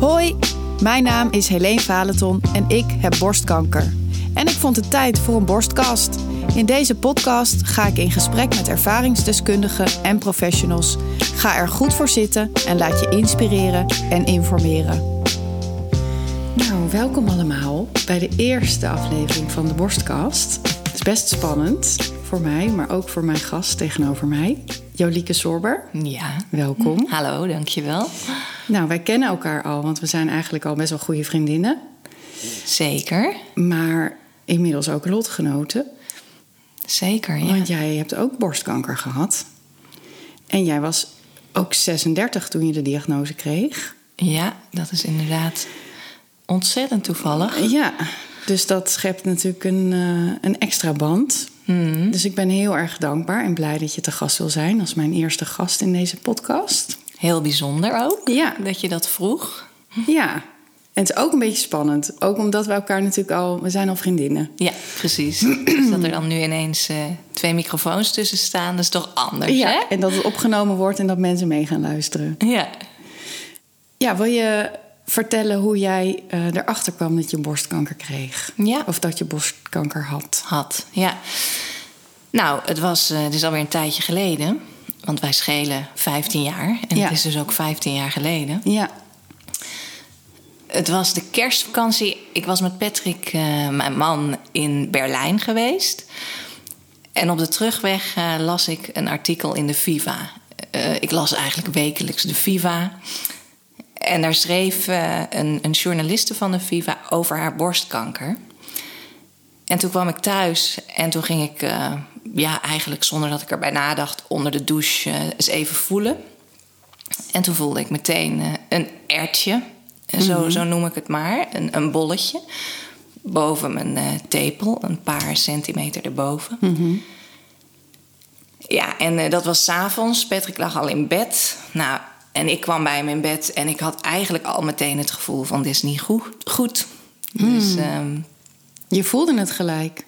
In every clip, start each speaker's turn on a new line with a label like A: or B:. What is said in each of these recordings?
A: Hoi, mijn naam is Helene Valeton en ik heb borstkanker. En ik vond het tijd voor een borstkast. In deze podcast ga ik in gesprek met ervaringsdeskundigen en professionals. Ga er goed voor zitten en laat je inspireren en informeren. Nou, welkom allemaal bij de eerste aflevering van de borstkast. Het is best spannend voor mij, maar ook voor mijn gast tegenover mij, Jolieke Sorber.
B: Ja.
A: Welkom.
B: Hallo, dankjewel.
A: Nou, wij kennen elkaar al, want we zijn eigenlijk al best wel goede vriendinnen.
B: Zeker.
A: Maar inmiddels ook lotgenoten.
B: Zeker, ja.
A: Want jij hebt ook borstkanker gehad. En jij was ook 36 toen je de diagnose kreeg.
B: Ja, dat is inderdaad ontzettend toevallig.
A: Ja, dus dat schept natuurlijk een, eh, een extra band. Dus ik ben heel erg dankbaar en blij dat je te gast wil zijn als mijn eerste gast in deze podcast.
B: Heel bijzonder ook
A: Ja,
B: dat je dat vroeg.
A: ja. En het is ook een beetje spannend. Ook omdat we elkaar natuurlijk al, we zijn al vriendinnen.
B: Ja, precies. dus dat er dan nu ineens eh, twee microfoons tussen staan, dat is toch anders,
A: Ja,
B: hè?
A: en dat het opgenomen wordt en dat mensen mee gaan luisteren.
B: Ja.
A: Ja, wil je vertellen hoe jij eh, erachter kwam dat je borstkanker kreeg?
B: Ja.
A: Of dat je borstkanker had?
B: Had, ja. Nou, het, was, eh, het is alweer een tijdje geleden. Want wij schelen 15 jaar. En
A: Ja.
B: het is dus ook 15 jaar geleden.
A: Ja,
B: Het was de kerstvakantie. Ik was met Patrick, eh, mijn man, in Berlijn geweest. En op de terugweg eh, las ik een artikel in de Viva. Eh, ik las eigenlijk wekelijks de Viva. En daar schreef eh, een, een journaliste van de Viva over haar borstkanker. En toen kwam ik thuis en toen ging ik, eh, ja, eigenlijk zonder dat ik erbij nadacht, onder de douche eh, eens even voelen. En toen voelde ik meteen eh, een ertje, eh, zo, zo noem ik het maar, een, een bolletje. Boven mijn eh, tepel, een paar centimeter erboven. Ja, en eh, dat was s'avonds. Patrick lag al in bed. Nou, en ik kwam bij hem in bed en ik had eigenlijk al meteen het gevoel van dit is niet goed. goed. Dus ehm,
A: je voelde het gelijk.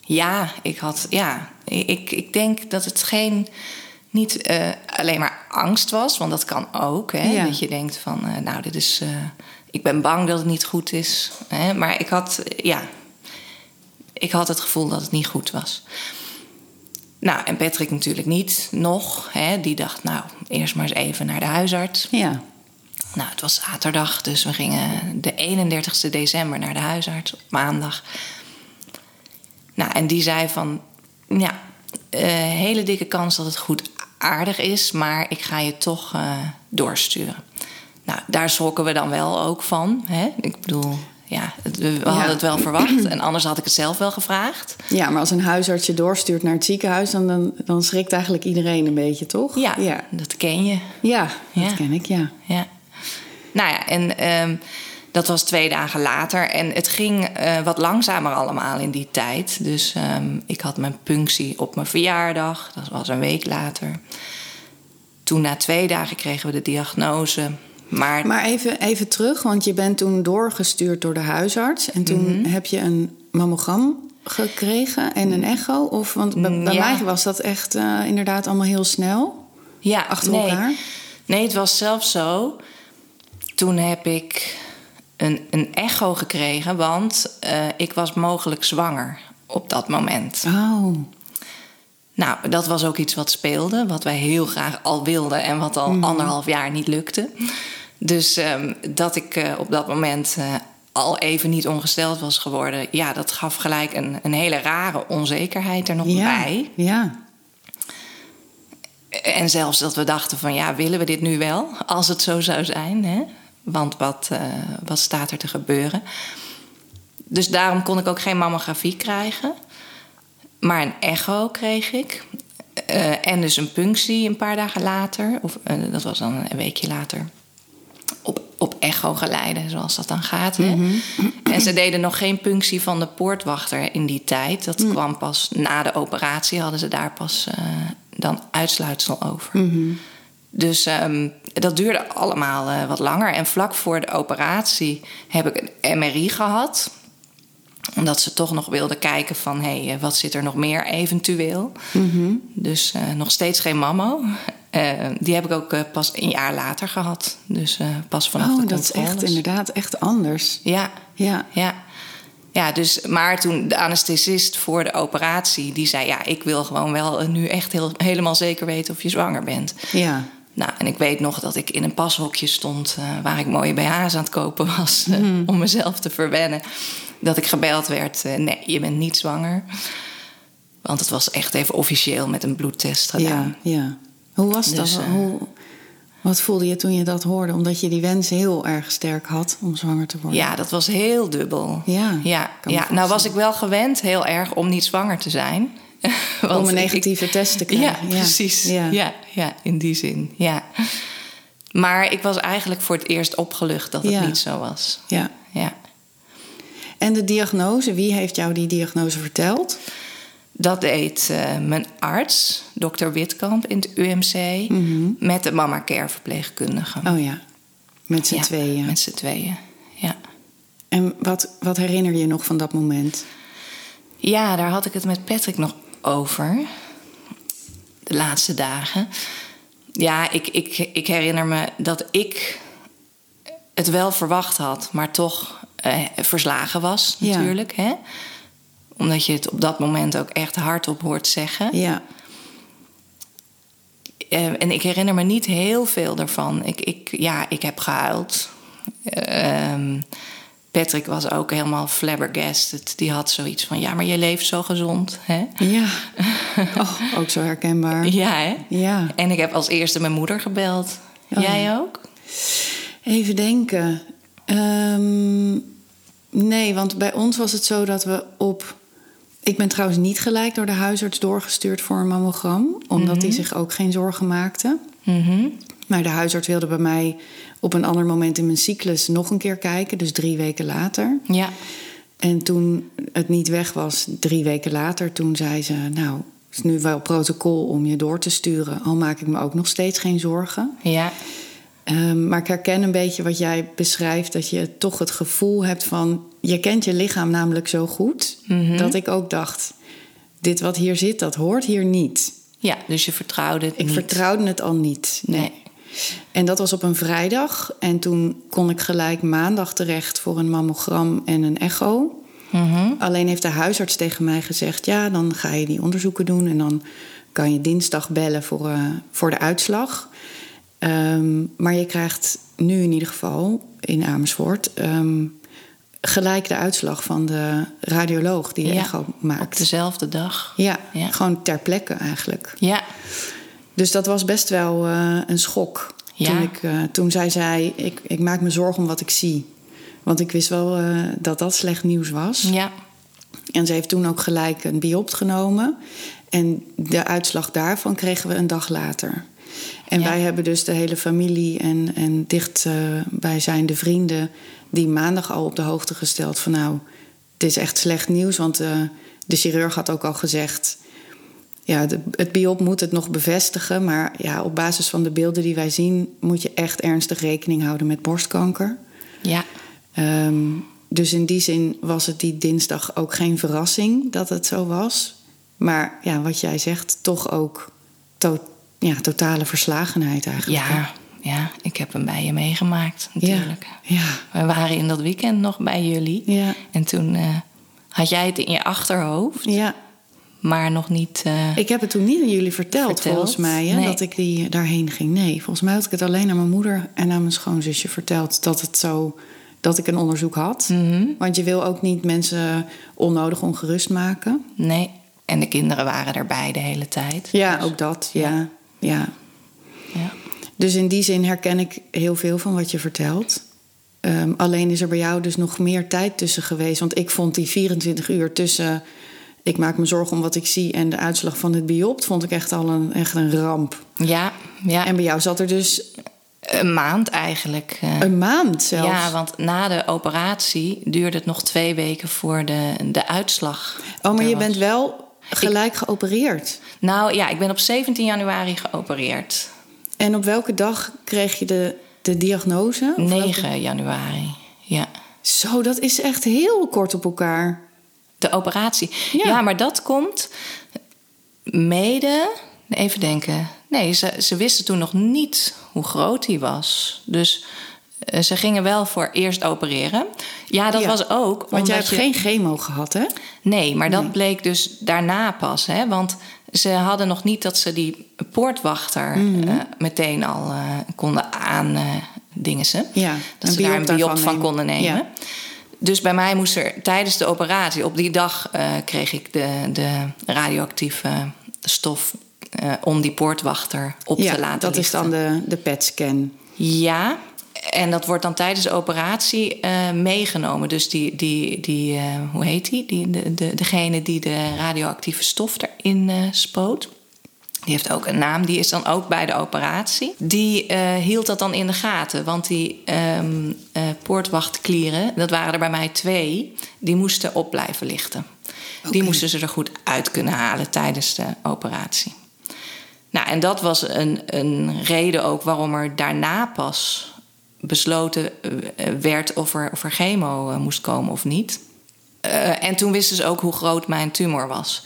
B: ja, ik had. Ja, ik, ik denk dat het geen. Niet eh, alleen maar angst was, want dat kan ook. Hè?
A: Ja.
B: Dat je denkt van, eh, nou, dit is. eh, ik ben bang dat het niet goed is. Hè? Maar ik had. eh, ja. Ik had het gevoel dat het niet goed was. Nou, en Patrick natuurlijk niet nog. Hè? Die dacht, nou, eerst maar eens even naar de huisarts.
A: Ja.
B: Nou, het was zaterdag, dus we gingen de 31 december naar de huisarts op maandag. Nou, en die zei van, ja, eh, hele dikke kans dat het goed aardig is, maar ik ga je toch eh, doorsturen. Nou, daar schrokken we dan wel ook van. Hè? Ik bedoel, ja, het- we we hadden het wel verwacht en anders had ik het zelf wel gevraagd.
A: ja, maar als een huisarts je doorstuurt naar het ziekenhuis... dan, dan, dan schrikt eigenlijk iedereen een beetje, toch?
B: Ja,
A: Ja,
B: dat ken je.
A: Ja, dat
B: Ja.
A: ken ik, ja.
B: Ja. Nou ja, en ehm, dat was twee dagen later. En het ging eh, wat langzamer allemaal in die tijd. Dus ehm, ik had mijn punctie op mijn verjaardag. Dat was een week later. Toen na twee dagen kregen we de diagnose. Maar,
A: Maar even, even terug, want je bent toen doorgestuurd door de huisarts... en toen
B: Mhm.
A: heb je een mammogram gekregen en een echo? Of, want bij, bij
B: Ja.
A: mij was dat echt eh, inderdaad allemaal heel snel.
B: ja,
A: achter
B: nee.
A: elkaar?
B: Nee, het was zelfs zo. Toen heb ik een, een echo gekregen, want eh, ik was mogelijk zwanger op dat moment.
A: Oh,
B: Nou, dat was ook iets wat speelde, wat wij heel graag al wilden en wat al anderhalf jaar niet lukte. Dus ehm, dat ik eh, op dat moment eh, al even niet ongesteld was geworden, ja, dat gaf gelijk een, een hele rare onzekerheid er nog
A: ja.
B: bij.
A: Ja,
B: En zelfs dat we dachten van ja, willen we dit nu wel, als het zo zou zijn? Hè? Want wat, eh, wat staat er te gebeuren? Dus daarom kon ik ook geen mammografie krijgen. Maar een echo kreeg ik. Eh, en dus een punctie een paar dagen later. Of eh, dat was dan een weekje later. Op, op echo geleiden, zoals dat dan gaat. Hè? En ze deden nog geen punctie van de poortwachter in die tijd. Dat kwam pas na de operatie. Hadden ze daar pas eh, dan uitsluitsel over. Dus ehm, dat duurde allemaal eh, wat langer. En vlak voor de operatie heb ik een MRI gehad omdat ze toch nog wilden kijken
A: Mhm.
B: van... hé, hey, eh, wat zit er nog meer eventueel? Dus eh, nog steeds geen mammo. Eh, die heb ik ook eh, pas een jaar later gehad. Dus eh, pas vanaf de
A: Oh, dat is echt
B: controles.
A: inderdaad echt anders.
B: Ja,
A: Ja.
B: ja. Ja, dus, maar toen de anesthesist voor de operatie... die zei, ja, ik wil gewoon wel eh, nu echt heel, helemaal zeker weten of je zwanger bent.
A: Ja.
B: Nou, en ik weet nog dat ik in een pashokje stond eh, waar ik mooie BH's aan het kopen was eh,
A: Mhm.
B: om mezelf te verwennen. Dat ik gebeld werd: eh, nee, je bent niet zwanger. Want het was echt even officieel met een bloedtest gedaan.
A: Ja, ja. Hoe was
B: Dus,
A: dat?
B: eh,
A: Hoe, wat voelde je toen je dat hoorde? Omdat je die wens heel erg sterk had om zwanger te worden.
B: Ja, dat was heel dubbel.
A: Ja,
B: ja,
A: kan me
B: ja. nou
A: voorstellen.
B: was ik wel gewend heel erg om niet zwanger te zijn. Want
A: om een
B: ik-
A: negatieve test te
B: Ja,
A: krijgen.
B: precies. Ja.
A: Ja.
B: Ja, in die zin. Ja. Maar ik was eigenlijk voor het eerst opgelucht dat het
A: Ja.
B: niet zo was.
A: Ja.
B: Ja.
A: En de diagnose, wie heeft jou die diagnose verteld?
B: Dat deed eh, mijn arts, dokter Witkamp, in het UMC... met de mama care verpleegkundige.
A: Mhm. Oh ja, met z'n
B: Ja,
A: tweeën.
B: Met z'n tweeën, ja.
A: En wat, wat herinner je nog van dat moment?
B: Ja, daar had ik het met Patrick nog over. De laatste dagen. Ja, ik, ik, ik herinner me dat ik het wel verwacht had, maar toch eh, verslagen was
A: Ja.
B: natuurlijk. Hè? Omdat je het op dat moment ook echt hardop hoort zeggen.
A: Ja,
B: Eh, en ik herinner me niet heel veel daarvan. Ik, ik, ja, ik heb gehuild. Ehm, Patrick was ook helemaal flabbergasted. Die had zoiets van: ja, maar je leeft zo gezond. Hè?
A: ja. Oh, ook zo herkenbaar.
B: Ja, hè?
A: Ja.
B: En ik heb als eerste mijn moeder gebeld.
A: Oh,
B: Jij
A: ja.
B: ook?
A: Even denken. Ehm, nee, want bij ons was het zo dat we op. Ik ben trouwens niet gelijk door de huisarts doorgestuurd voor een mammogram, omdat die zich ook geen zorgen maakte. Maar de huisarts wilde bij mij op een ander moment in mijn cyclus nog een keer kijken, dus drie weken later.
B: Ja.
A: En toen het niet weg was, drie weken later, toen zei ze: Nou, het is nu wel protocol om je door te sturen, al maak ik me ook nog steeds geen zorgen.
B: Ja.
A: Ehm, maar ik herken een beetje wat jij beschrijft, dat je toch het gevoel hebt van. Je kent je lichaam namelijk zo goed, dat ik ook dacht: dit wat hier zit, dat hoort hier niet.
B: ja, dus je vertrouwde het
A: Ik
B: niet.
A: vertrouwde het al niet. Nee.
B: Nee.
A: En dat was op een vrijdag. En toen kon ik gelijk maandag terecht voor een mammogram en een echo.
B: Mhm.
A: Alleen heeft de huisarts tegen mij gezegd: ja, dan ga je die onderzoeken doen en dan kan je dinsdag bellen voor, eh, voor de uitslag. Ehm, maar je krijgt nu in ieder geval in Amersfoort ehm, gelijk de uitslag van de radioloog die de
B: Ja,
A: echo
B: Op
A: maakt.
B: dezelfde dag.
A: Ja,
B: Ja.
A: gewoon ter plekke eigenlijk.
B: Ja.
A: Dus dat was best wel eh, een schok.
B: Ja.
A: Toen, ik, eh, toen zij zei, ik, ik maak me zorgen om wat ik zie. Want ik wist wel eh, dat dat slecht nieuws was.
B: Ja.
A: En ze heeft toen ook gelijk een biopt genomen. En de uitslag daarvan kregen we een dag later. En
B: Ja.
A: wij hebben dus de hele familie en, en dichtbij zijnde vrienden... die maandag al op de hoogte gesteld van nou, het is echt slecht nieuws. Want eh, de chirurg had ook al gezegd... Ja, de- het biop moet het nog bevestigen. Maar ja, op basis van de beelden die wij zien... moet je echt ernstig rekening houden met borstkanker.
B: Ja.
A: Ehm, dus in die zin was het die dinsdag ook geen verrassing dat het zo was. Maar ja, wat jij zegt, toch ook to- ja, totale verslagenheid eigenlijk.
B: Ja. Ja. Ik heb hem bij je meegemaakt natuurlijk.
A: Ja.
B: We waren in dat weekend nog bij jullie.
A: Ja.
B: En toen eh, had jij het in je achterhoofd,
A: ja.
B: maar nog niet. eh,
A: Ik heb het toen niet aan jullie verteld,
B: Verteld?
A: volgens mij, hè,
B: Nee.
A: dat ik die eh, daarheen ging. Nee, volgens mij had ik het alleen aan mijn moeder en aan mijn schoonzusje verteld dat het zo dat ik een onderzoek had.
B: Mhm.
A: Want je wil ook niet mensen onnodig ongerust maken.
B: Nee. En de kinderen waren erbij de hele tijd.
A: Ja, ook dat. ja. ja.
B: Ja.
A: Dus in die zin herken ik heel veel van wat je vertelt. Ehm, alleen is er bij jou dus nog meer tijd tussen geweest. Want ik vond die 24 uur tussen. Ik maak me zorgen om wat ik zie en de uitslag van het biopt. vond ik echt al een, echt een ramp.
B: Ja. ja.
A: En bij jou zat er dus
B: Een maand eigenlijk. eh,
A: een maand zelfs. Oh,
B: ja, want na de operatie duurde het nog twee weken voor de, de uitslag.
A: oh, maar
B: er
A: je
B: was.
A: bent wel gelijk geopereerd.
B: Nou ja, ik ben op 17 januari geopereerd.
A: En op welke dag kreeg je de, de diagnose? Of welke-
B: 9 januari. Ja.
A: Zo, dat is echt heel kort op elkaar.
B: De operatie.
A: Ja.
B: Ja, maar dat komt mede. Even denken. Nee, ze, ze wisten toen nog niet hoe groot hij was. Dus eh, ze gingen wel voor eerst opereren. Ja, dat
A: Ja.
B: was ook.
A: Want jij hebt
B: je-
A: geen chemo gehad, hè?
B: Nee, maar dat bleek dus daarna pas. Hè? Want ze hadden nog niet dat ze die poortwachter
A: Mhm.
B: eh, meteen al eh, konden aan eh dingensen.
A: Ja,
B: dat
A: een
B: ze daar
A: biop
B: een
A: daarvan
B: biop van
A: nemen.
B: konden nemen.
A: Ja.
B: Dus bij mij moest er tijdens de operatie, op die dag eh, kreeg ik de, de radioactieve stof eh, om die poortwachter op
A: ja,
B: te laten
A: dat is
B: lichten.
A: dan de, E de PET-scan.
B: Ja, en dat wordt dan tijdens de operatie eh, meegenomen. Dus die, die, die eh, hoe heet die? die de, de, degene die de radioactieve stof erin eh, spoot. Die heeft ook een naam, die is dan ook bij de operatie. Die eh, hield dat dan in de gaten, want die ehm, eh, poortwachtklieren, dat waren er bij mij twee, die moesten op blijven lichten. Die
A: Oké.
B: moesten ze er goed uit kunnen halen tijdens de operatie. Nou, en dat was een, een reden ook waarom er daarna pas besloten eh, werd of er, of er chemo eh, moest komen of niet. Eh, en toen wisten ze ook hoe groot mijn tumor was.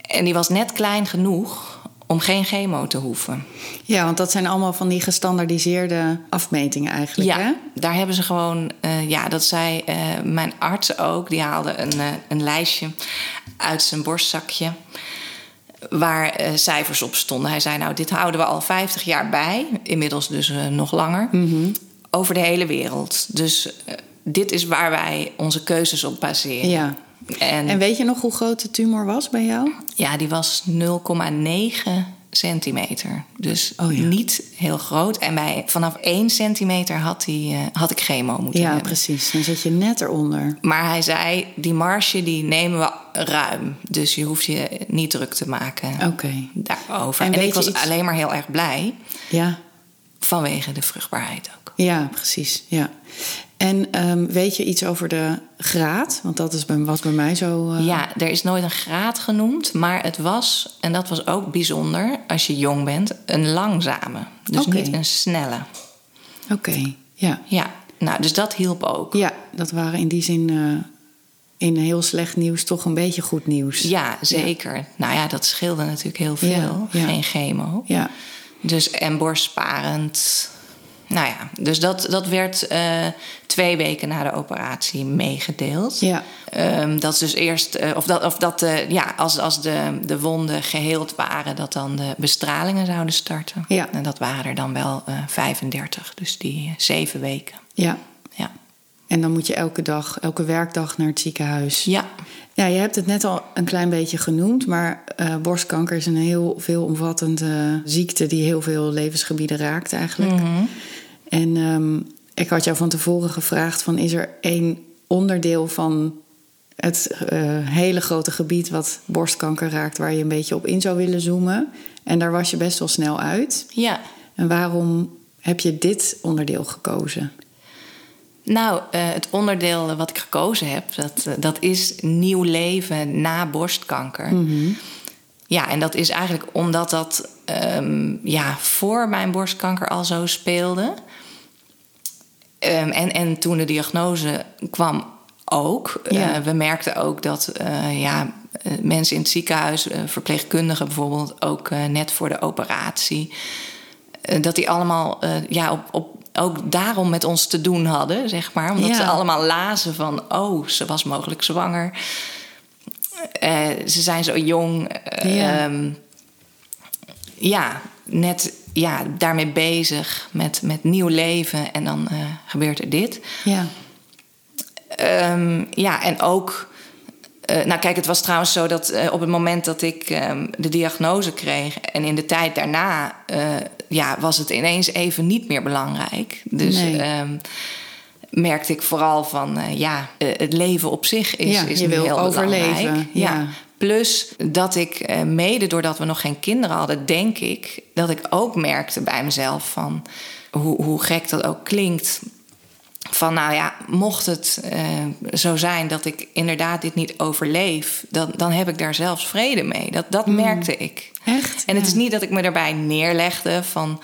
B: En die was net klein genoeg om geen chemo te hoeven.
A: Ja, want dat zijn allemaal van die gestandardiseerde afmetingen eigenlijk,
B: Ja,
A: hè?
B: daar hebben ze gewoon, eh, ja, dat zei eh, mijn arts ook. Die haalde een, eh, een lijstje uit zijn borstzakje waar eh, cijfers op stonden. Hij zei, nou, dit houden we al 50 jaar bij, inmiddels dus eh, nog langer,
A: Mhm.
B: over de hele wereld. Dus eh, dit is waar wij onze keuzes op baseren.
A: Ja.
B: En,
A: En weet je nog hoe groot de tumor was bij jou?
B: ja, die was 0,9 centimeter. Dus
A: Oh ja.
B: niet heel groot. En bij, vanaf 1 centimeter had, die, eh, had ik chemo moeten
A: Ja,
B: hebben.
A: precies. Dan zit je net eronder.
B: Maar hij zei, die marge die nemen we ruim. Dus je hoeft je niet druk te maken
A: Oké.
B: daarover.
A: Oh. En
B: En,
A: weet
B: ik
A: je
B: was
A: iets-
B: alleen maar heel erg blij
A: Ja.
B: vanwege de vruchtbaarheid ook.
A: Ja, precies. Ja. En ehm, weet je iets over de graad? Want dat is bij, was bij mij zo. eh,
B: Ja, er is nooit een graad genoemd, maar het was, en dat was ook bijzonder als je jong bent, een langzame. Dus
A: Oké.
B: niet een snelle.
A: Oké. Ja.
B: Ja, nou, dus dat hielp ook.
A: ja, dat waren in die zin eh, in heel slecht nieuws toch een beetje goed nieuws.
B: Ja, zeker. Nou ja, dat scheelde natuurlijk heel veel.
A: Ja, ja.
B: Geen chemo.
A: Ja.
B: Dus en borstsparend. Nou ja, dus dat, dat werd eh, twee weken na de operatie meegedeeld.
A: Ja.
B: Ehm, dat is dus eerst, eh, of dat, of dat eh, ja, als, als de, de wonden geheeld waren, dat dan de bestralingen zouden starten.
A: Ja.
B: En dat waren er dan wel eh 35, dus die eh, zeven weken.
A: ja.
B: Ja.
A: En dan moet je elke dag, elke werkdag naar het ziekenhuis.
B: ja.
A: Ja, je hebt het net al een klein beetje genoemd, maar eh, borstkanker is een heel veelomvattende ziekte die heel veel levensgebieden raakt eigenlijk.
B: Mhm.
A: En ehm, ik had jou van tevoren gevraagd van is er één onderdeel van het eh, hele grote gebied wat borstkanker raakt waar je een beetje op in zou willen zoomen? En daar was je best wel snel uit.
B: ja.
A: En waarom heb je dit onderdeel gekozen?
B: Nou, eh, het onderdeel wat ik gekozen heb, dat, eh, dat is nieuw leven na borstkanker. Ja, en dat is eigenlijk omdat dat ehm, ja, voor mijn borstkanker al zo speelde. Ehm, en, en toen de diagnose kwam ook.
A: Ja.
B: Eh, we merkten ook dat eh, ja, eh, mensen in het ziekenhuis, eh, verpleegkundigen bijvoorbeeld, ook eh, net voor de operatie, eh, dat die allemaal eh, ja, op, op, ook daarom met ons te doen hadden, zeg maar. Omdat
A: Ja.
B: ze allemaal lazen van, oh, ze was mogelijk zwanger. Eh, ze zijn zo jong. Eh,
A: Ja.
B: ehm, ja, net ja, daarmee bezig met, met nieuw leven en dan eh, gebeurt er dit.
A: Ja,
B: Ehm, ja, en ook. eh, nou, kijk, het was trouwens zo dat eh, op het moment dat ik ehm, de diagnose kreeg en in de tijd daarna, eh, ja, was het ineens even niet meer belangrijk. Dus
A: Nee.
B: ehm, merkte ik vooral van, eh, ja, eh, het leven op zich is,
A: Ja,
B: is
A: je
B: nu
A: wil
B: heel
A: overleven,
B: belangrijk.
A: ja.
B: Plus dat ik, eh, mede doordat we nog geen kinderen hadden, denk ik dat ik ook merkte bij mezelf van hoe, hoe gek dat ook klinkt. Van nou ja, mocht het eh, zo zijn dat ik inderdaad dit niet overleef, dan, dan heb ik daar zelfs vrede mee. Dat, dat merkte ik.
A: echt? Mm.
B: En het
A: Ja.
B: is niet dat ik me daarbij neerlegde van.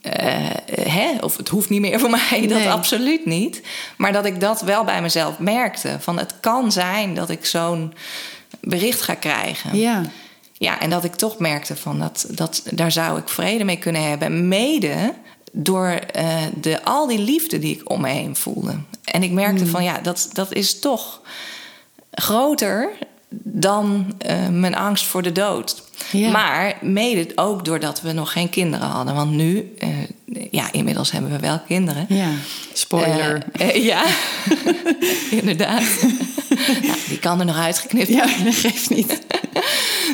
B: eh, hè, of het hoeft niet meer voor mij, dat
A: Nee.
B: absoluut niet. Maar dat ik dat wel bij mezelf merkte. Van het kan zijn dat ik zo'n bericht ga krijgen.
A: Ja,
B: Ja, en dat ik toch merkte van dat, dat daar zou ik vrede mee kunnen hebben. Mede door eh, de, al die liefde die ik om me heen voelde. En ik merkte
A: Hmm.
B: van ja, dat, dat is toch groter dan eh, mijn angst voor de dood.
A: Ja.
B: Maar mede ook doordat we nog geen kinderen hadden. Want nu, eh, ja, inmiddels hebben we wel kinderen.
A: Ja, spoiler.
B: Eh, eh, ja, inderdaad. Nou, die kan er nog uitgeknipt
A: ja, dat geeft niet.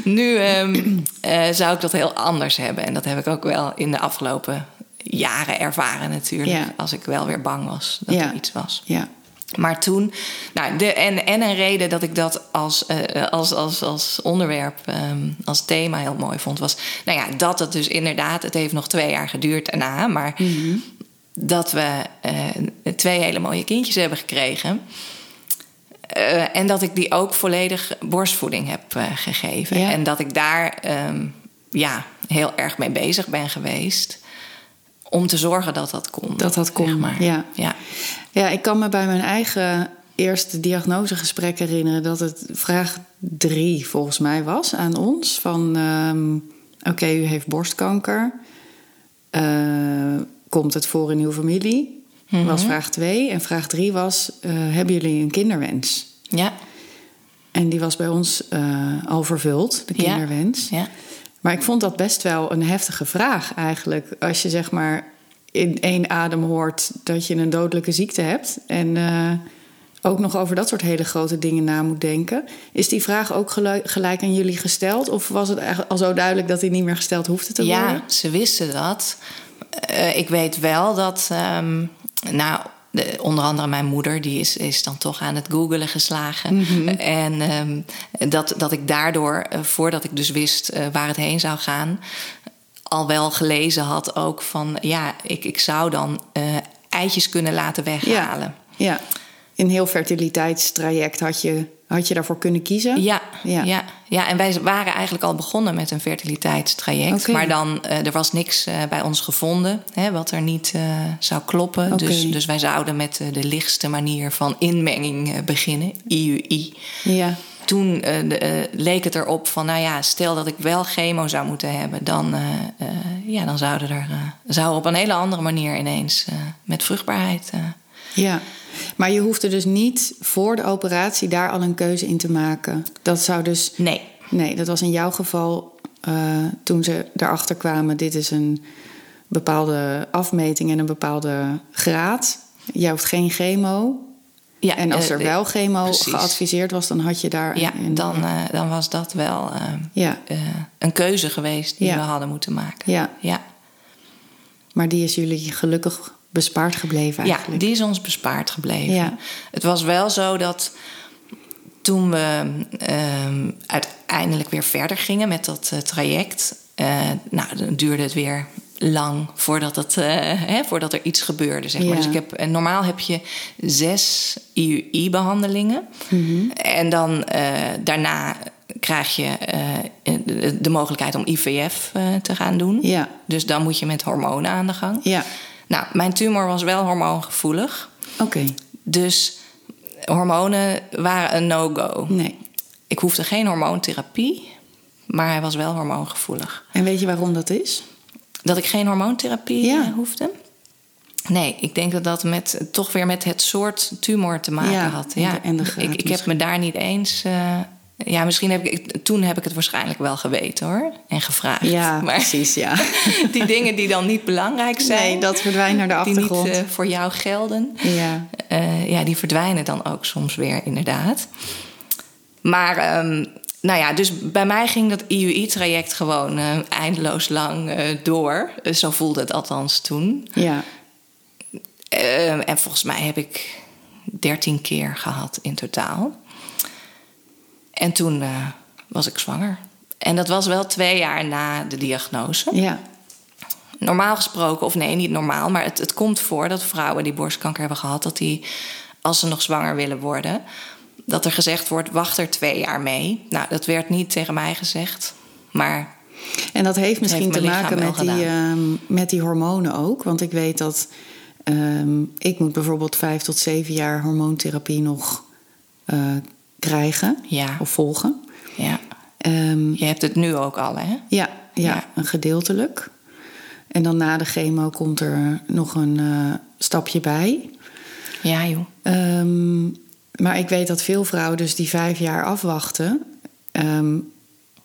B: nu ehm, eh, zou ik dat heel anders hebben. En dat heb ik ook wel in de afgelopen jaren ervaren natuurlijk.
A: Ja.
B: Als ik wel weer bang was dat
A: Ja.
B: er iets was.
A: Ja,
B: Maar toen, nou, de, en, en een reden dat ik dat als, eh, als, als, als onderwerp, ehm, als thema heel mooi vond, was nou ja, dat het dus inderdaad, het heeft nog twee jaar geduurd daarna, maar
A: Mhm.
B: dat we eh, twee hele mooie kindjes hebben gekregen. Eh, en dat ik die ook volledig borstvoeding heb eh, gegeven.
A: Ja.
B: En dat ik daar ehm, ja, heel erg mee bezig ben geweest. Om te zorgen dat dat kon.
A: Dat dat kon,
B: zeg maar.
A: ja.
B: ja.
A: Ja, ik kan me bij mijn eigen eerste diagnosegesprek herinneren dat het vraag drie volgens mij was aan ons: van ehm, oké, u heeft borstkanker. Eh, komt het voor in uw familie?
B: Mhm.
A: Was vraag twee. En vraag drie was: eh, hebben jullie een kinderwens?
B: Ja,
A: En die was bij ons eh, al vervuld, de
B: Ja.
A: kinderwens.
B: ja.
A: Maar ik vond dat best wel een heftige vraag eigenlijk. Als je zeg maar in één adem hoort dat je een dodelijke ziekte hebt. En eh, ook nog over dat soort hele grote dingen na moet denken. Is die vraag ook gelu- gelijk aan jullie gesteld? Of was het eigenlijk al zo duidelijk dat die niet meer gesteld hoefde te
B: ja,
A: worden?
B: ze wisten dat. Eh, ik weet wel dat, ehm, nou, de- onder andere mijn moeder, die is, is dan toch aan het googelen geslagen.
A: Mhm.
B: En ehm, dat, dat ik daardoor, eh, voordat ik dus wist eh, waar het heen zou gaan, al wel gelezen had ook van, ja, ik, ik zou dan eh, eitjes kunnen laten weghalen.
A: Ja. In heel fertiliteitstraject had je, had je daarvoor kunnen kiezen.
B: Ja,
A: Ja.
B: ja. ja, en wij waren eigenlijk al begonnen met een fertiliteitstraject.
A: Oké.
B: Maar dan, eh, er was niks eh, bij ons gevonden hè, wat er niet eh, zou kloppen.
A: Oké.
B: Dus, dus wij zouden met eh, de lichtste manier van inmenging eh, beginnen, IUI.
A: Ja.
B: Toen eh, de- eh, leek het erop van, nou ja, stel dat ik wel chemo zou moeten hebben... dan, eh, eh, ja, dan zouden er, eh, zou er op een hele andere manier ineens eh, met vruchtbaarheid... eh,
A: ja. Maar je hoefde dus niet voor de operatie daar al een keuze in te maken. Dat zou dus
B: nee,
A: Nee, dat was in jouw geval eh, toen ze erachter kwamen: dit is een bepaalde afmeting en een bepaalde graad. Jij hoeft geen chemo.
B: Ja,
A: en als
B: eh,
A: er
B: eh,
A: wel chemo
B: precies.
A: geadviseerd was, dan had je daar.
B: ja,
A: een-
B: dan, eh, dan was dat wel... eh,
A: ja,
B: eh, een keuze geweest die
A: Ja.
B: we hadden moeten maken.
A: Ja.
B: Ja.
A: maar die is jullie gelukkig bespaard gebleven
B: ja,
A: eigenlijk.
B: die is ons bespaard gebleven.
A: Ja.
B: Het was wel zo dat toen we ehm, uiteindelijk weer verder gingen met dat eh, traject, eh, nou, dan duurde het weer lang voordat, het, eh, hè, voordat er iets gebeurde. Zeg maar.
A: Ja.
B: Dus ik heb, en normaal heb je zes IUI-behandelingen.
A: Mhm.
B: En dan eh, daarna krijg je eh, de, de mogelijkheid om IVF eh, te gaan doen.
A: Ja.
B: Dus dan moet je met hormonen aan de gang.
A: Ja,
B: Nou, mijn tumor was wel hormoongevoelig.
A: oké.
B: Dus hormonen waren een no-go.
A: Nee.
B: Ik hoefde geen hormoontherapie, maar hij was wel hormoongevoelig.
A: En weet je waarom dat is?
B: Dat ik geen hormoontherapie
A: Ja.
B: eh, hoefde? Nee, ik denk dat dat met, toch weer met het soort tumor te maken
A: Ja,
B: had.
A: en de- en de graad
B: ik, ik heb
A: misschien.
B: me daar niet eens. eh, ja, misschien heb ik. Toen heb ik het waarschijnlijk wel geweten hoor. En gevraagd.
A: Ja,
B: maar
A: precies, ja.
B: die dingen die dan niet belangrijk zijn.
A: Nee, dat verdwijnt naar de
B: die niet
A: achtergrond.
B: eh, voor jou gelden.
A: ja.
B: Eh, ja, die verdwijnen dan ook soms weer, inderdaad. Maar, ehm, nou ja, dus bij mij ging dat IUI-traject gewoon eh, eindeloos lang eh, door. Eh, zo voelde het althans toen.
A: ja.
B: Eh, en volgens mij heb ik 13 keer gehad in totaal. En toen eh, was ik zwanger. En dat was wel twee jaar na de diagnose.
A: Ja.
B: Normaal gesproken, of nee, niet normaal, maar het, het komt voor dat vrouwen die borstkanker hebben gehad, dat die, als ze nog zwanger willen worden, dat er gezegd wordt: wacht er twee jaar mee. Nou, dat werd niet tegen mij gezegd, maar
A: En dat heeft misschien
B: heeft
A: te
B: mijn
A: maken met
B: lichaam wel
A: die, ehm, met die hormonen ook. Want ik weet dat ehm, ik moet bijvoorbeeld vijf tot zeven jaar hormoontherapie nog eh, krijgen
B: Ja.
A: of volgen.
B: ja.
A: Ehm,
B: Je hebt het nu ook al, hè?
A: ja, ja,
B: Ja.
A: een gedeeltelijk. En dan na de chemo komt er nog een eh, stapje bij.
B: Ja, joh.
A: Ehm, maar ik weet dat veel vrouwen dus die vijf jaar afwachten ehm,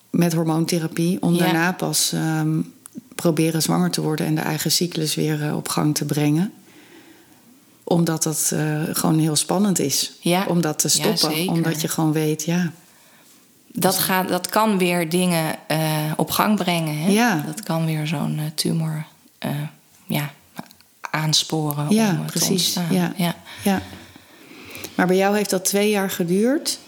A: met hormoontherapie... om
B: Ja.
A: daarna pas ehm, proberen zwanger te worden... en de eigen cyclus weer eh, op gang te brengen. Omdat dat eh, gewoon heel spannend is.
B: Ja.
A: Om dat te
B: Ja,
A: stoppen.
B: zeker.
A: omdat je gewoon weet, ja...
B: Dat, gaat, dat kan weer dingen eh, op gang brengen, hè?
A: Ja.
B: Dat kan weer zo'n eh, tumor eh, ja, aansporen
A: Ja,
B: om eh,
A: precies,
B: te ontstaan.
A: ja.
B: Ja.
A: Ja. Maar bij jou heeft dat twee jaar geduurd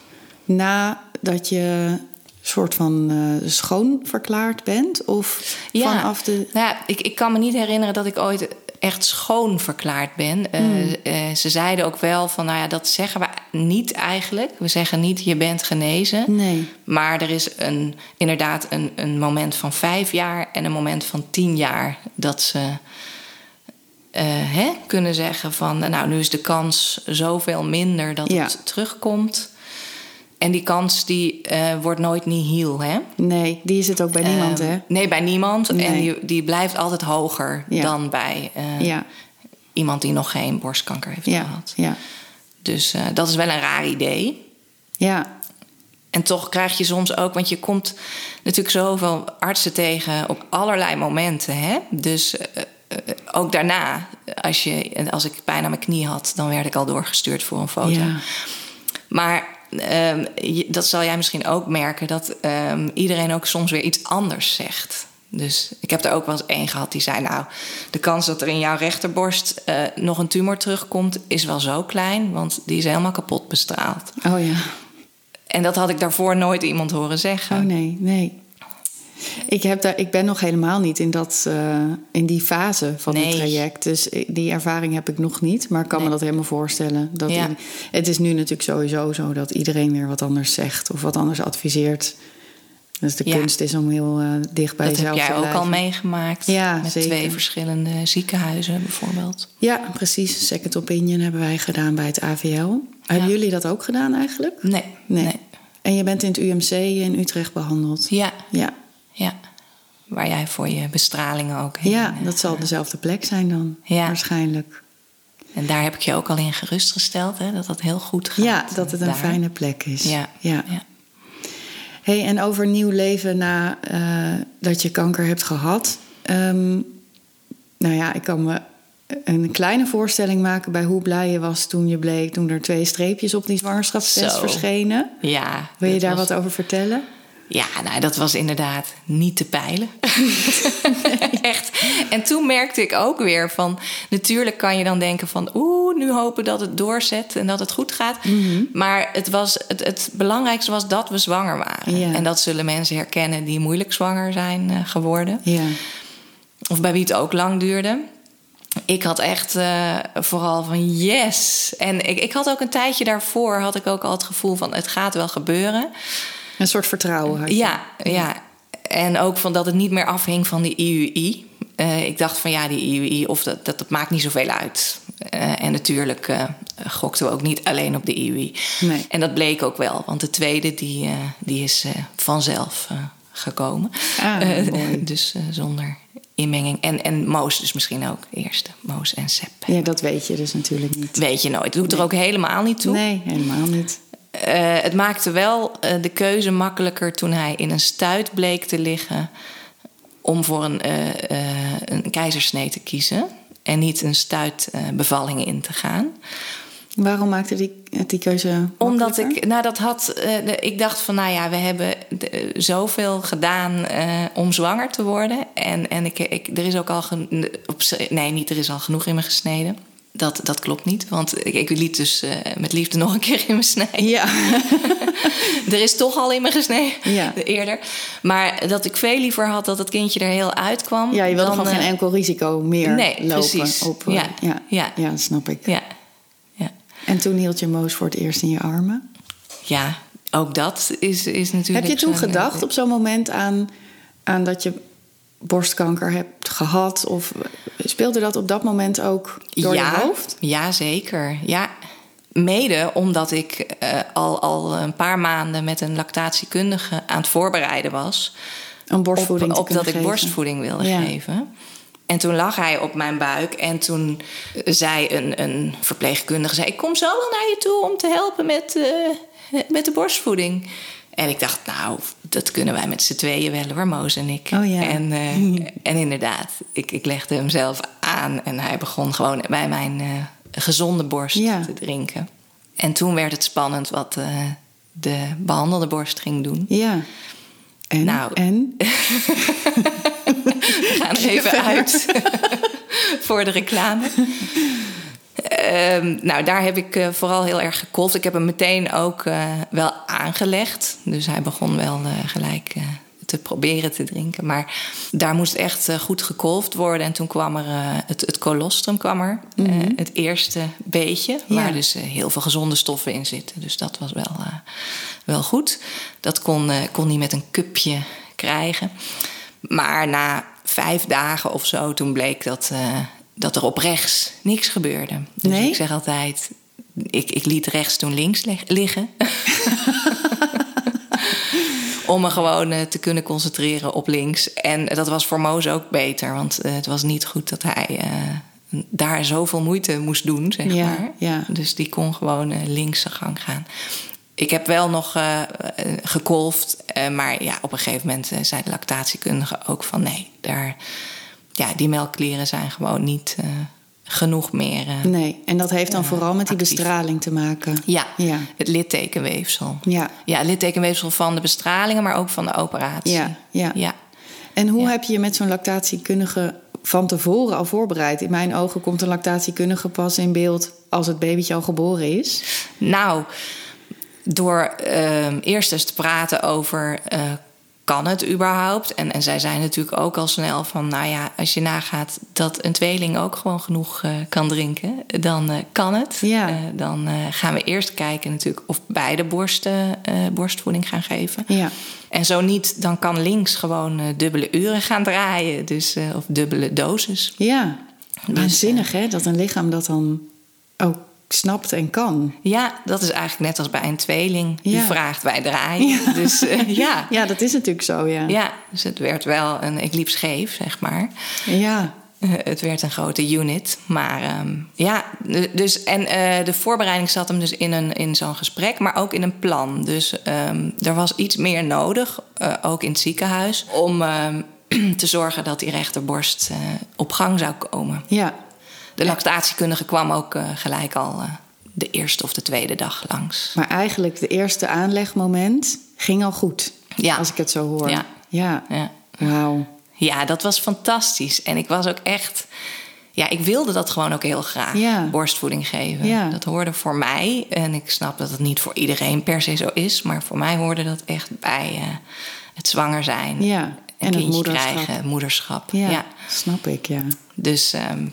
A: nadat je soort van eh, schoon verklaard bent? Of
B: Ja.
A: vanaf de.
B: Nou ja, ik, ik kan me niet herinneren dat ik ooit echt schoon verklaard ben. Eh,
A: Hmm.
B: eh, ze zeiden ook wel van, nou ja, dat zeggen we niet eigenlijk. We zeggen niet, je bent genezen.
A: Nee.
B: Maar er is een, inderdaad een, een moment van vijf jaar en een moment van tien jaar dat ze eh, hè, kunnen zeggen van eh, nou nu is de kans zoveel minder dat
A: Ja.
B: het terugkomt. En die kans die eh, wordt nooit nihil. Hè?
A: Nee, die is het ook bij niemand,
B: Ehm,
A: hè?
B: Nee, bij niemand. En
A: Nee.
B: die, die blijft altijd hoger
A: Ja.
B: dan bij eh,
A: Ja,
B: iemand die nog geen borstkanker heeft
A: ja,
B: gehad.
A: ja.
B: Dus eh, dat is wel een raar idee.
A: Ja,
B: En toch krijg je soms ook, want je komt natuurlijk zoveel artsen tegen op allerlei momenten. Hè? Dus eh, eh, ook daarna, als, je, en als ik pijn aan mijn knie had, dan werd ik al doorgestuurd voor een foto.
A: ja.
B: Maar ehm, je- dat zal jij misschien ook merken, dat ehm, iedereen ook soms weer iets anders zegt. Dus ik heb er ook wel eens één gehad die zei: Nou, de kans dat er in jouw rechterborst eh, nog een tumor terugkomt, is wel zo klein, want die is helemaal kapot bestraald.
A: Oh ja.
B: En dat had ik daarvoor nooit iemand horen zeggen.
A: Oh nee, nee. Ik, heb daar, ik ben nog helemaal niet in, dat, eh, in die fase van het
B: Nee.
A: traject. Dus ik- die ervaring heb ik nog niet. Maar ik kan me
B: Nee.
A: dat helemaal voorstellen. Dat
B: Ja.
A: in- het is nu natuurlijk sowieso zo dat iedereen weer wat anders zegt. Of wat anders adviseert. Dus de
B: Ja.
A: kunst is om heel eh, dicht bij
B: dat heb
A: jezelf te
B: jij ook
A: blijven.
B: al meegemaakt.
A: Ja,
B: met
A: zeker.
B: twee verschillende ziekenhuizen bijvoorbeeld.
A: Ja, precies. Second opinion hebben wij gedaan bij het AVL. Hebben jullie dat ook gedaan eigenlijk?
B: Nee,
A: Nee.
B: nee.
A: En je bent in het UMC in Utrecht behandeld?
B: Ja,
A: Ja,
B: ja. Waar jij voor je bestralingen ook heen.
A: ja
B: eh,
A: dat zal dezelfde plek zijn dan.
B: Ja.
A: Waarschijnlijk.
B: En daar heb ik je ook al in gerustgesteld, hè, dat dat heel goed gaat.
A: Ja, dat het een
B: daar.
A: fijne plek is.
B: Ja.
A: ja.
B: Ja.
A: Hey, en over nieuw leven na eh, dat je kanker hebt gehad. Ehm, nou ja, ik kan me een kleine voorstelling maken bij hoe blij je was toen je bleek... toen er twee streepjes op die zwangerschapstest
B: Zo.
A: verschenen.
B: Ja,
A: Wil je
B: dat
A: daar
B: was-
A: wat over vertellen?
B: Ja, nou, dat was inderdaad niet te peilen. Echt. En toen merkte ik ook weer van... Natuurlijk kan je dan denken van... Oeh, nu hopen dat het doorzet en dat het goed gaat. Maar het, was, het, het belangrijkste was dat we zwanger waren.
A: Ja.
B: En dat zullen mensen herkennen die moeilijk zwanger zijn eh, geworden.
A: Ja,
B: Of bij wie het ook lang duurde. Ik had echt eh, vooral van yes. En ik, ik had ook een tijdje daarvoor... had ik ook al het gevoel van het gaat wel gebeuren...
A: een soort vertrouwen had je.
B: Ja, ja. En ook van dat het niet meer afhing van die IUI. Eh, ik dacht van ja, die IUI, of dat, dat, dat maakt niet zoveel uit. Eh, en natuurlijk eh, gokten we ook niet alleen op de IUI.
A: Nee.
B: En dat bleek ook wel, want de tweede die, eh, die is eh, vanzelf eh, gekomen.
A: Ah,
B: Eh,
A: mooi.
B: dus eh, zonder inmenging. En, en Moos dus misschien ook, de eerste. Moos en Sepp.
A: Ja, dat weet je dus natuurlijk niet.
B: Weet je nooit. Doet er ook helemaal niet toe.
A: Nee, helemaal niet.
B: Eh, het maakte wel eh, de keuze makkelijker toen hij in een stuit bleek te liggen om voor een, eh, eh, een keizersnee te kiezen en niet een stuitbevalling in te gaan.
A: Waarom maakte die, die keuze
B: Omdat
A: makkelijker?
B: ik, nou dat had, eh, de- ik dacht van nou ja, we hebben de- eh, zoveel gedaan eh, om zwanger te worden. En, en ik, ik, er is ook al, gen- op, z- nee niet, er is al genoeg in me gesneden. Dat, dat klopt niet, want ik, ik liet dus eh, met liefde nog een keer in me snijden.
A: Ja,
B: Er is toch al in me gesneden
A: Ja.
B: eerder. Maar dat ik veel liever had dat het kindje er heel uitkwam.
A: ja je wilde
B: dan,
A: gewoon geen
B: eh,
A: enkel risico meer
B: nee,
A: lopen.
B: precies.
A: Op, eh,
B: Ja,
A: Ja, ja.
B: ja.
A: snap ik.
B: Ja. Ja.
A: En toen hield je Moos voor het eerst in je armen.
B: ja, ook dat is, is
A: Heb
B: natuurlijk...
A: je toen
B: zo'n, eh,
A: gedacht op zo'n moment aan, aan dat je borstkanker hebt gehad? Of speelde dat op dat moment ook door
B: ja,
A: je hoofd?
B: Ja, zeker. Ja, Mede omdat ik eh, al, al een paar maanden met een lactatiekundige aan het voorbereiden was.
A: Een borstvoeding
B: op,
A: te
B: op dat
A: kunnen
B: ik
A: geven.
B: borstvoeding wilde
A: Ja.
B: geven. En toen lag hij op mijn buik en toen eh, zei een, een verpleegkundige... Zei, ik kom zo wel naar je toe om te helpen met, eh, met de borstvoeding. En ik dacht, nou, dat kunnen wij met z'n tweeën wel hoor, Moos en ik.
A: Oh ja.
B: en, eh, en inderdaad, ik, ik legde hem zelf aan en hij begon gewoon bij mijn eh, gezonde borst
A: Ja.
B: te drinken. En toen werd het spannend wat eh, de behandelde borst ging doen.
A: Ja. En?
B: Nou.
A: en?
B: We gaan even uit voor de reclame. Ehm, nou, daar heb ik eh, vooral heel erg gekolft. Ik heb hem meteen ook eh, wel aangelegd. Dus hij begon wel eh, gelijk eh, te proberen te drinken. Maar daar moest echt eh, goed gekolft worden. En toen kwam er eh, het, het colostrum, kwam er, eh, het eerste beetje.
A: Ja.
B: Waar dus eh, heel veel gezonde stoffen in zitten. Dus dat was wel, eh, wel goed. Dat kon, eh, kon hij met een cupje krijgen. Maar na vijf dagen of zo, toen bleek dat, eh, dat er op rechts niks gebeurde. Dus
A: Nee?
B: ik zeg altijd, ik, ik liet rechts toen links leg- liggen. Om me gewoon eh, te kunnen concentreren op links. En dat was voor Moos ook beter. Want eh, het was niet goed dat hij eh, daar zoveel moeite moest doen, zeg
A: Ja,
B: maar.
A: ja.
B: Dus die kon gewoon eh, links zijn gang gaan. Ik heb wel nog eh, eh, gekolfd. eh, maar ja, op een gegeven moment eh, zei de lactatiekundige ook van... nee, daar, ja, die melkklieren zijn gewoon niet eh, genoeg meer... eh,
A: Nee. En dat heeft dan vooral met die
B: actief.
A: bestraling te maken.
B: ja,
A: Ja.
B: het littekenweefsel.
A: Ja.
B: Ja, littekenweefsel van de bestralingen, maar ook van de operatie.
A: Ja, ja.
B: ja.
A: En hoe
B: Ja.
A: heb je je met zo'n lactatiekundige van tevoren al voorbereid? In mijn ogen komt een lactatiekundige pas in beeld als het babytje al geboren is.
B: Nou, door ehm, eerst eens te praten over... eh, kan het überhaupt? En, en zij zei natuurlijk ook al snel van... nou ja, als je nagaat dat een tweeling ook gewoon genoeg eh, kan drinken... dan eh, kan het.
A: Ja.
B: Eh, dan eh, gaan we eerst kijken natuurlijk of beide borsten eh, borstvoeding gaan geven.
A: Ja.
B: En zo niet, dan kan links gewoon eh, dubbele uren gaan draaien. Dus, eh, of dubbele doses.
A: Ja,
B: Dus,
A: waanzinnig hè, dat een lichaam dat dan ook snapt en kan.
B: Ja, dat is eigenlijk net als bij een tweeling. Die
A: Ja.
B: vraagt, wij draaien. Dus eh, ja.
A: Ja, dat is natuurlijk zo, ja.
B: ja, dus het werd wel een... Ik liep scheef, zeg maar.
A: Ja,
B: Eh, het werd een grote unit. Maar ehm, ja, d- dus, en eh, de voorbereiding zat hem dus in, een, in zo'n gesprek, maar ook in een plan. Dus ehm, er was iets meer nodig, eh, ook in het ziekenhuis, om ehm, te zorgen dat die rechterborst eh, op gang zou komen.
A: ja.
B: De lactatiekundige kwam ook eh, gelijk al eh, de eerste of de tweede dag langs.
A: Maar eigenlijk de eerste aanlegmoment ging al goed.
B: Ja.
A: Als ik het zo hoor.
B: Ja.
A: Ja.
B: Ja.
A: Wauw.
B: Ja, dat was fantastisch. En ik was ook echt. Ja, ik wilde dat gewoon ook heel graag.
A: Ja.
B: Borstvoeding geven.
A: Ja.
B: Dat hoorde voor mij. En ik snap dat het niet voor iedereen per se zo is. Maar voor mij hoorde dat echt bij eh, het zwanger zijn.
A: Ja.
B: Een
A: En het
B: kindje
A: moederschap.
B: krijgen, moederschap.
A: Ja,
B: Ja.
A: Snap ik, ja.
B: Dus, ehm,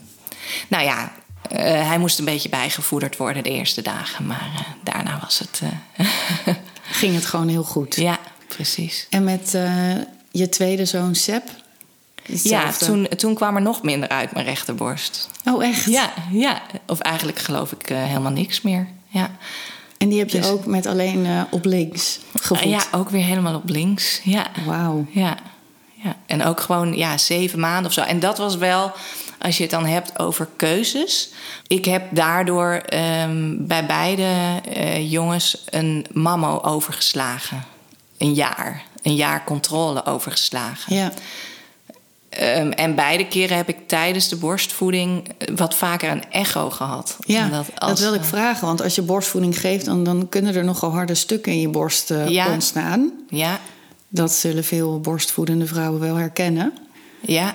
B: nou ja. eh, hij moest een beetje bijgevoederd worden de eerste dagen. Maar eh, daarna was het. eh,
A: Ging het gewoon heel goed.
B: ja, precies.
A: En met eh, je tweede zoon, Seb?
B: Ja,
A: Hetzelfde.
B: toen, toen kwam er nog minder uit mijn rechterborst.
A: Oh, echt?
B: Ja, ja. Of eigenlijk geloof ik eh, helemaal niks meer. Ja.
A: En die heb je
B: Dus-
A: ook met alleen eh, op links gevoed?
B: ja, ook weer helemaal op links. Ja.
A: Wauw.
B: Ja. ja. En ook gewoon ja, zeven maanden of zo. En dat was wel, als je het dan hebt over keuzes. Ik heb daardoor ehm, bij beide eh, jongens een mammo overgeslagen. Een jaar. Een jaar controle overgeslagen.
A: Ja.
B: Ehm, en beide keren heb ik tijdens de borstvoeding eh, wat vaker een echo gehad.
A: Ja,
B: Omdat
A: dat,
B: als- eh,
A: wil ik vragen. Want als je borstvoeding geeft, dan, dan kunnen er nogal harde stukken in je borst eh,
B: Ja.
A: ontstaan.
B: Ja,
A: Dat zullen veel borstvoedende vrouwen wel herkennen.
B: ja.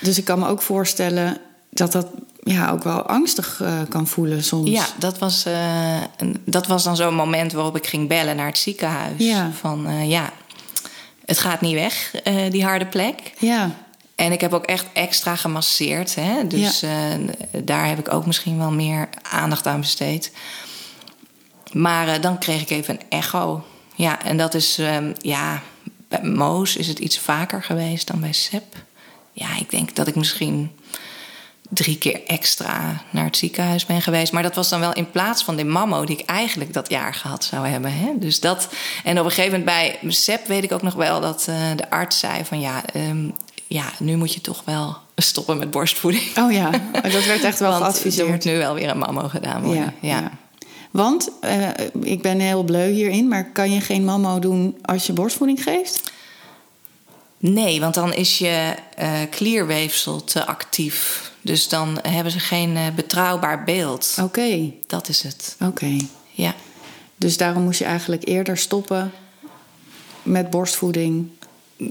A: Dus ik kan me ook voorstellen dat dat ja, ook wel angstig eh, kan voelen soms.
B: Ja, dat was, eh, een- dat was dan zo'n moment waarop ik ging bellen naar het ziekenhuis.
A: Ja.
B: Van eh, ja, het gaat niet weg, eh, die harde plek.
A: Ja,
B: En ik heb ook echt extra gemasseerd. Hè? Dus eh, daar heb ik ook misschien wel meer aandacht aan besteed. Maar eh, dan kreeg ik even een echo. Ja, en dat is, ehm, ja, bij Moos is het iets vaker geweest dan bij Sep. Ja, ik denk dat ik misschien drie keer extra naar het ziekenhuis ben geweest. Maar dat was dan wel in plaats van de mammo die ik eigenlijk dat jaar gehad zou hebben. Hè? Dus dat, en op een gegeven moment bij SEP weet ik ook nog wel dat eh, de arts zei van ja, ehm, ja, nu moet je toch wel stoppen met borstvoeding.
A: Oh ja, dat werd echt wel
B: Want er
A: geadviseerd.
B: moet nu wel weer een mammo gedaan worden. Ja,
A: Want, eh, ik ben heel bleu hierin, maar kan je geen mammo doen als je borstvoeding geeft?
B: Nee, want dan is je eh, klierweefsel te actief. Dus dan hebben ze geen eh, betrouwbaar beeld.
A: Oké,
B: Dat is het.
A: oké.
B: Ja.
A: Dus daarom moest je eigenlijk eerder stoppen met borstvoeding.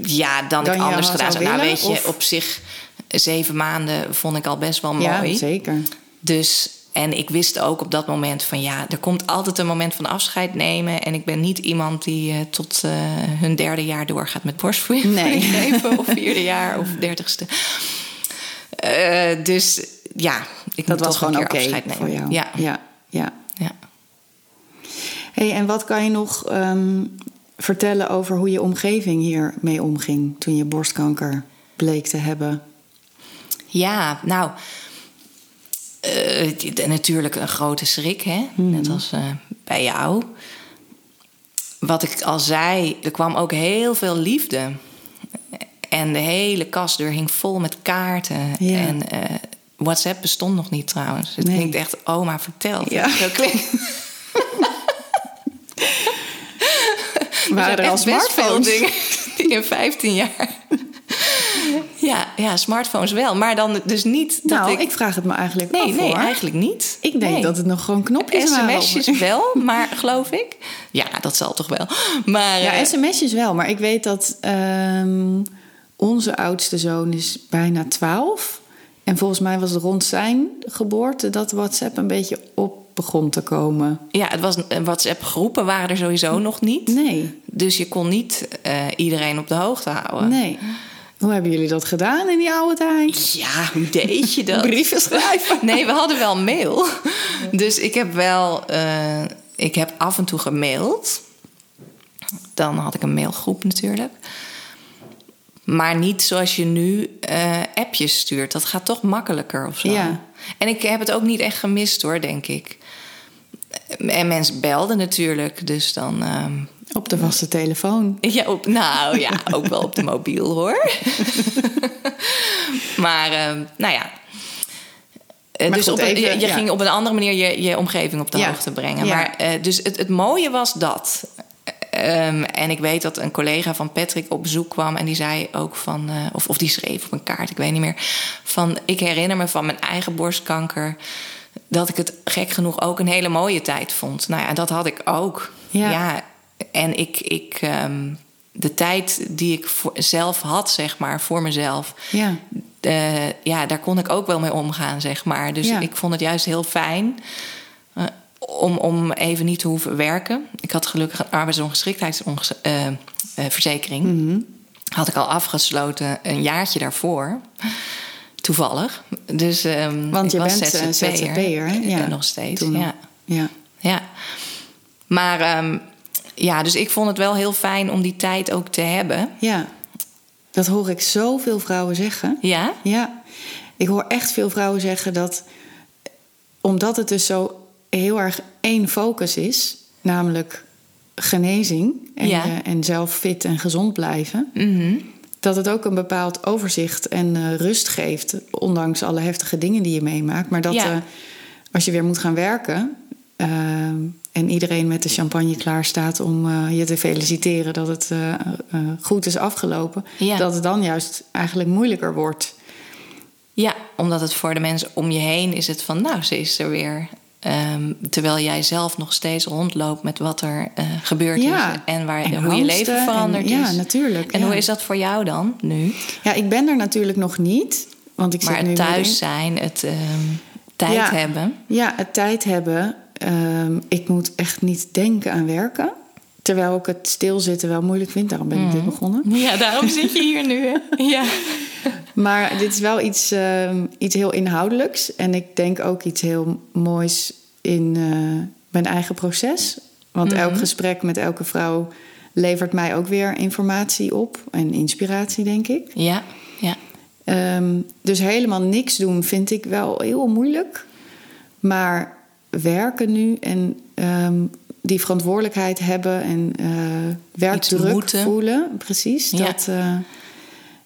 B: Ja, dan,
A: Dan
B: ik
A: je
B: anders
A: had
B: gedaan
A: zou
B: zou. Nou,
A: willen,
B: weet je,
A: of-
B: op zich zeven maanden vond ik al best wel mooi.
A: Ja, zeker.
B: dus, en ik wist ook op dat moment van ja, er komt altijd een moment van afscheid nemen. En ik ben niet iemand die eh, tot eh, hun derde jaar doorgaat met borstvoeding
A: Nee.
B: geven. Of vierde jaar of dertigste. Eh, dus ja,
A: Dat
B: ik moet
A: was
B: toch
A: gewoon
B: een
A: oké
B: keer afscheid nemen.
A: voor jou.
B: Ja,
A: ja. ja.
B: ja.
A: Hey, en wat kan je nog ehm, vertellen over hoe je omgeving hiermee omging toen je borstkanker bleek te hebben?
B: Ja, nou. eh, het- natuurlijk een grote schrik, hè?
A: Mhm.
B: Net als eh, bij jou. Wat ik al zei, er kwam ook heel veel liefde. En de hele kastdeur hing vol met kaarten.
A: Ja.
B: En eh, WhatsApp bestond nog niet trouwens. Het
A: Nee.
B: klinkt echt oma verteld.
A: Ja.
B: Zo klinkt
A: Waren er al
B: echt best veel
A: smartphones?
B: dingen die in 15 jaar. ja, ja, smartphones wel. Maar dan dus niet dat
A: Nou, ik...
B: ik...
A: vraag het me eigenlijk
B: Nee,
A: af
B: nee,
A: hoor.
B: eigenlijk niet.
A: Ik denk
B: Nee.
A: dat het nog gewoon knopjes waren.
B: SMS'jes wel, maar geloof ik. Ja, dat zal toch wel. Maar eh,
A: Ja, sms'jes wel. Maar ik weet dat ehm, onze oudste zoon is bijna 12. En volgens mij was het rond zijn geboorte dat WhatsApp een beetje op begon te komen.
B: ja, het was een- WhatsApp groepen waren er sowieso nog niet.
A: Nee,
B: Dus je kon niet eh, iedereen op de hoogte houden.
A: nee. Hoe hebben jullie dat gedaan in die oude tijd?
B: Ja, hoe deed je dat?
A: Brieven schrijven.
B: Nee, we hadden wel mail. Dus ik heb wel. eh, ik heb af en toe gemaild. Dan had ik een mailgroep natuurlijk. Maar niet zoals je nu eh, appjes stuurt. Dat gaat toch makkelijker of zo.
A: Ja.
B: En ik heb het ook niet echt gemist hoor, denk ik. En mensen belden natuurlijk. Dus dan. ehm,
A: Op de vaste telefoon.
B: ja, op, nou ja, ook wel op de mobiel hoor. maar, ehm, nou ja. Eh,
A: Maar
B: dus
A: goed,
B: op een-
A: even,
B: je, je
A: ja.
B: ging op een andere manier je, je omgeving op de
A: Ja,
B: hoogte brengen.
A: ja.
B: Maar, eh, dus het, het mooie was dat. Ehm, en ik weet dat een collega van Patrick op bezoek kwam en die zei ook van, eh, of, of die schreef op een kaart, ik weet niet meer, van ik herinner me van mijn eigen borstkanker dat ik het gek genoeg ook een hele mooie tijd vond. Nou ja, dat had ik ook.
A: Ja.
B: Ah, en ik, ik ehm, de tijd die ik voor, zelf had, zeg maar, voor mezelf,
A: Ja.
B: eh, ja, daar kon ik ook wel mee omgaan, zeg maar. Dus
A: Ja.
B: ik vond het juist heel fijn eh, om, om even niet te hoeven werken. Ik had gelukkig een arbeidsongeschiktheidsverzekering.
A: Mhm.
B: Had ik al afgesloten een jaartje daarvoor. Toevallig. Dus, ehm,
A: Want
B: ik
A: je
B: was
A: bent eh,
B: ZZP'er.
A: ZZP'er, hè?
B: Eh, nog steeds,
A: Toen nog.
B: ja.
A: ja.
B: Ja. Maar ehm, ja, dus ik vond het wel heel fijn om die tijd ook te hebben.
A: Ja. Dat hoor ik zoveel vrouwen zeggen.
B: Ja?
A: Ja, ik hoor echt veel vrouwen zeggen dat omdat het dus zo heel erg één focus is, namelijk genezing en,
B: Ja. Mhm.
A: eh, en zelf fit en gezond blijven, dat het ook een bepaald overzicht en eh, rust geeft, ondanks alle heftige dingen die je meemaakt. Maar dat
B: Ja.
A: eh, als je weer moet gaan werken eh, en iedereen met de champagne klaar staat om eh, je te feliciteren dat het eh, eh, goed is afgelopen,
B: Ja.
A: dat het dan juist eigenlijk moeilijker wordt.
B: Ja, omdat het voor de mensen om je heen is het van... nou, ze is er weer. Ehm, terwijl jij zelf nog steeds rondloopt met wat er eh, gebeurd is...
A: Ja.
B: en, waar,
A: En
B: hoe je
A: angsten
B: leven
A: en-
B: veranderd
A: ja,
B: is.
A: natuurlijk,
B: En
A: ja.
B: hoe is dat voor jou dan nu?
A: Ja, ik ben er natuurlijk nog niet. Want ik
B: maar
A: zit nu
B: het thuis
A: midden-
B: zijn, het ehm, tijd
A: Ja.
B: hebben.
A: Ja, het tijd hebben. Ehm, ik moet echt niet denken aan werken. Terwijl ik het stilzitten wel moeilijk vind. Daarom ben ik
B: Mhm.
A: dit begonnen.
B: Ja, daarom zit je hier nu. hè? Ja.
A: Maar dit is wel iets, ehm, iets heel inhoudelijks. En ik denk ook iets heel moois in eh, mijn eigen proces. Want
B: Mhm.
A: elk gesprek met elke vrouw levert mij ook weer informatie op. En inspiratie, denk ik.
B: ja, ja.
A: Eh, Ehm, dus helemaal niks doen vind ik wel heel moeilijk. Maar werken nu en ehm, die verantwoordelijkheid hebben en eh werkdruk
B: moeten.
A: voelen, precies.
B: Ja.
A: Dat, eh,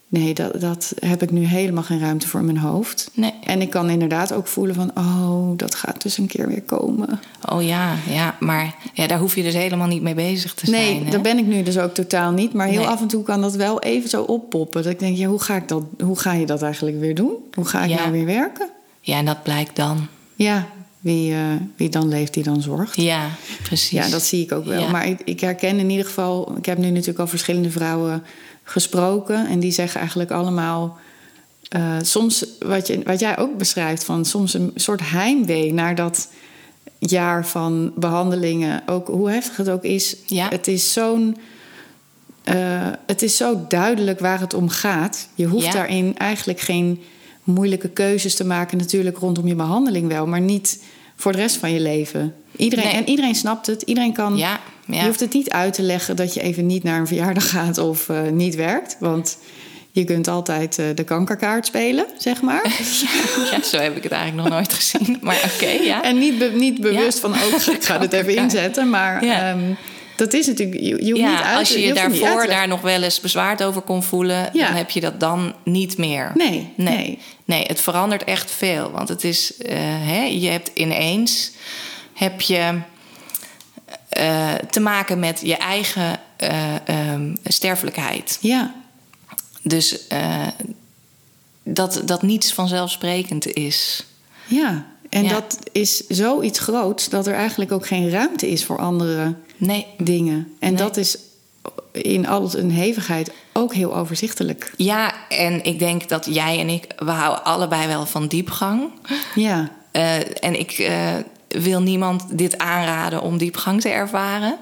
A: nee, dat, dat heb ik nu helemaal geen ruimte voor in mijn hoofd.
B: Nee.
A: En ik kan inderdaad ook voelen van, oh, dat gaat dus een keer weer komen.
B: Oh ja, ja, maar ja, daar hoef je dus helemaal niet mee bezig te zijn.
A: Nee,
B: hè?
A: dat ben ik nu dus ook totaal niet. Maar heel
B: Nee.
A: af en toe kan dat wel even zo oppoppen. Dat ik denk, ja, hoe, ga ik dat, hoe ga je dat eigenlijk weer doen? Hoe ga ik
B: Ja.
A: nou weer werken?
B: Ja, en dat blijkt dan.
A: Ja, wie, eh, wie dan leeft, die dan zorgt.
B: Ja, precies.
A: Ja, dat zie ik ook wel.
B: Ja.
A: Maar ik, ik herken in ieder geval... Ik heb nu natuurlijk al verschillende vrouwen gesproken. En die zeggen eigenlijk allemaal... eh, soms, wat, je, wat jij ook beschrijft, van soms een soort heimwee naar dat jaar van behandelingen. Ook hoe heftig het ook is.
B: Ja.
A: Het is zo'n... eh, het is zo duidelijk waar het om gaat. Je hoeft
B: Ja.
A: daarin eigenlijk geen moeilijke keuzes te maken. Natuurlijk rondom je behandeling wel, maar niet voor de rest van je leven. Iedereen,
B: Nee.
A: En iedereen snapt het. Iedereen kan.
B: Ja, ja.
A: Je hoeft het niet uit te leggen dat je even niet naar een verjaardag gaat of eh, niet werkt. Want je kunt altijd eh, de kankerkaart spelen, zeg maar.
B: Ja, zo heb ik het eigenlijk nog nooit gezien. Maar oké, ja.
A: En niet, be- niet bewust van, oh, ik ga dit even inzetten. Maar
B: Ja.
A: ehm, dat is natuurlijk, je, je hoeft niet
B: Ja,
A: uit
B: als je je
A: hoeft het niet uit
B: daarvoor
A: te
B: daar nog wel eens bezwaard over kon voelen,
A: Ja.
B: dan heb je dat dan niet meer.
A: Nee,
B: nee.
A: nee.
B: Nee, het verandert echt veel. Want het is, eh, hè, je hebt ineens heb je, eh, te maken met je eigen eh, ehm, sterfelijkheid.
A: Ja,
B: Dus eh, dat, dat niets vanzelfsprekend is.
A: ja. En
B: Ja.
A: dat is zoiets groots dat er eigenlijk ook geen ruimte is voor andere
B: Nee.
A: dingen. En
B: Nee.
A: dat is in alles een hevigheid ook heel overzichtelijk.
B: Ja, en ik denk dat jij en ik, we houden allebei wel van diepgang.
A: Ja,
B: Eh, en ik eh, wil niemand dit aanraden om diepgang te ervaren.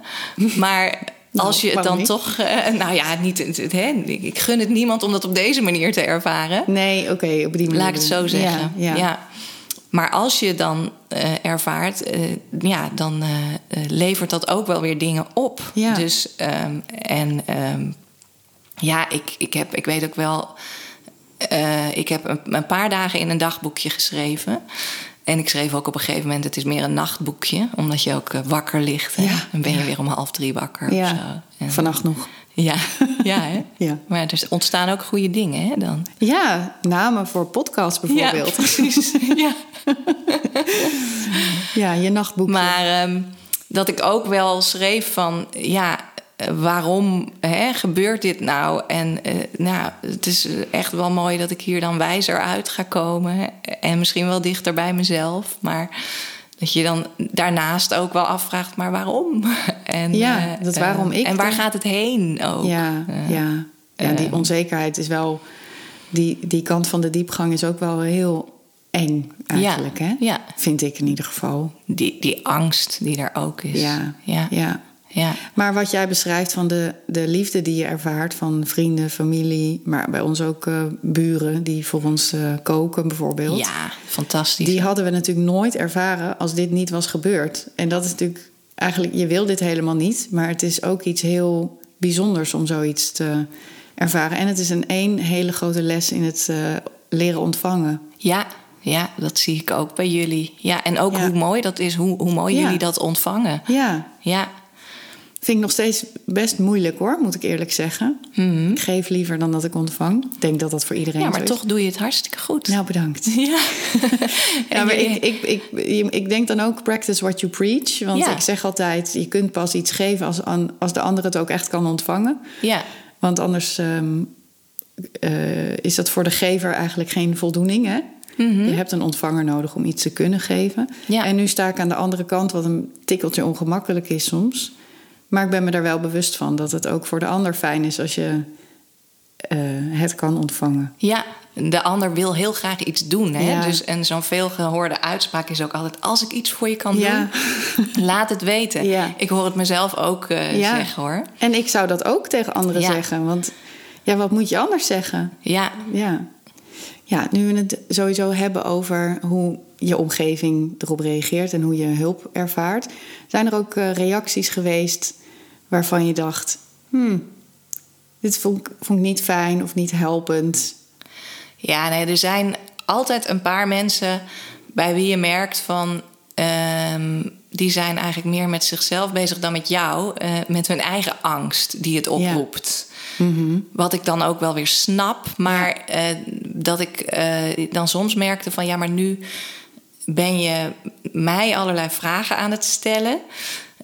B: Maar
A: Nou,
B: als je het
A: waarom
B: dan
A: niet?
B: toch. eh, nou ja, niet, het- het- hè, ik ik gun het niemand om dat op deze manier te ervaren.
A: nee, oké, op die manier.
B: Laat ik het zo
A: doen.
B: zeggen.
A: Mm, Ja, ja.
B: Maar als je dan eh, ervaart, eh, ja, dan eh, eh, levert dat ook wel weer dingen op.
A: Ja.
B: Dus ehm, en ehm, ja, ik, ik, heb, ik weet ook wel. eh, ik heb een, een paar dagen in een dagboekje geschreven. En ik schreef ook op een gegeven moment: het is meer een nachtboekje, omdat je ook eh, wakker ligt. hè.
A: Ja.
B: Dan ben je weer om half drie wakker. Of
A: Ja,
B: zo. En-
A: vannacht nog.
B: ja, ja, hè?
A: Ja.
B: Maar er ontstaan ook goede dingen hè, dan.
A: Ja, namen voor podcasts bijvoorbeeld.
B: Ja, precies. ja.
A: Ja, je nachtboekje.
B: Maar ehm, dat ik ook wel schreef van ja, eh, waarom hè, gebeurt dit nou? En eh, nou, het is echt wel mooi dat ik hier dan wijzer uit ga komen. En misschien wel dichter bij mezelf. Maar dat je dan daarnaast ook wel afvraagt, maar waarom? En,
A: Ja,
B: eh,
A: dat
B: eh,
A: waarom ik
B: En waar
A: dan-
B: gaat het heen ook?
A: ja,
B: Eh,
A: ja. ja, die
B: eh.
A: onzekerheid is wel... Die, die kant van de diepgang is ook wel heel eng eigenlijk,
B: Ja,
A: hè?
B: ja.
A: Vind ik in ieder geval.
B: Die, die angst die daar ook is.
A: Ja,
B: ja. ja.
A: ja. Maar wat jij beschrijft van de, de liefde die je ervaart van vrienden, familie, maar bij ons ook eh, buren die voor ons eh, koken bijvoorbeeld.
B: Ja, fantastisch.
A: Die hadden we natuurlijk nooit ervaren als dit niet was gebeurd. En dat is natuurlijk eigenlijk, je wil dit helemaal niet, maar het is ook iets heel bijzonders om zoiets te ervaren. En het is een één hele grote les in het eh, leren ontvangen.
B: Ja, ja, dat zie ik ook bij jullie. Ja, en ook
A: Ja.
B: hoe mooi dat is, hoe, hoe mooi
A: Ja.
B: jullie dat ontvangen.
A: Ja,
B: Ja,
A: vind ik nog steeds best moeilijk hoor, moet ik eerlijk zeggen. Ik geef liever dan dat ik ontvang. Ik denk dat dat voor iedereen
B: Mhm. ja maar
A: zo is.
B: toch doe je het hartstikke goed.
A: Nou, bedankt.
B: Ja.
A: Ja, maar
B: En je-
A: ik, ik, ik, ik denk dan ook practice what you preach. Want
B: Ja.
A: ik zeg altijd, je kunt pas iets geven als, an- als de ander het ook echt kan ontvangen.
B: ja,
A: Want anders ehm, eh, is dat voor de gever eigenlijk geen voldoening. Hè? Je hebt een ontvanger nodig om iets te kunnen geven.
B: Mhm. Ja.
A: En nu sta ik aan de andere kant, wat een tikkeltje ongemakkelijk is soms. Maar ik ben me daar wel bewust van dat het ook voor de ander fijn is als je eh, het kan ontvangen.
B: ja, de ander wil heel graag iets doen. Hè?
A: Ja.
B: Dus, en zo'n veelgehoorde uitspraak is ook altijd... als ik iets voor je kan
A: Ja.
B: doen, laat het weten.
A: Ja.
B: Ik hoor het mezelf ook eh,
A: Ja.
B: zeggen, hoor.
A: En ik zou dat ook tegen anderen
B: Ja.
A: zeggen. Want ja, wat moet je anders zeggen?
B: Ja,
A: Ja. ja, nu we het sowieso hebben over hoe je omgeving erop reageert en hoe je hulp ervaart. Zijn er ook eh, reacties geweest waarvan je dacht: hmm, dit vond ik, vond ik niet fijn of niet helpend?
B: Ja, nee, er zijn altijd een paar mensen bij wie je merkt van. ehm, die zijn eigenlijk meer met zichzelf bezig dan met jou. eh, met hun eigen angst die het oproept.
A: Mhm.
B: Wat ik dan ook wel weer snap. Maar eh, dat ik eh, dan soms merkte van ja, maar nu ben je mij allerlei vragen aan het stellen.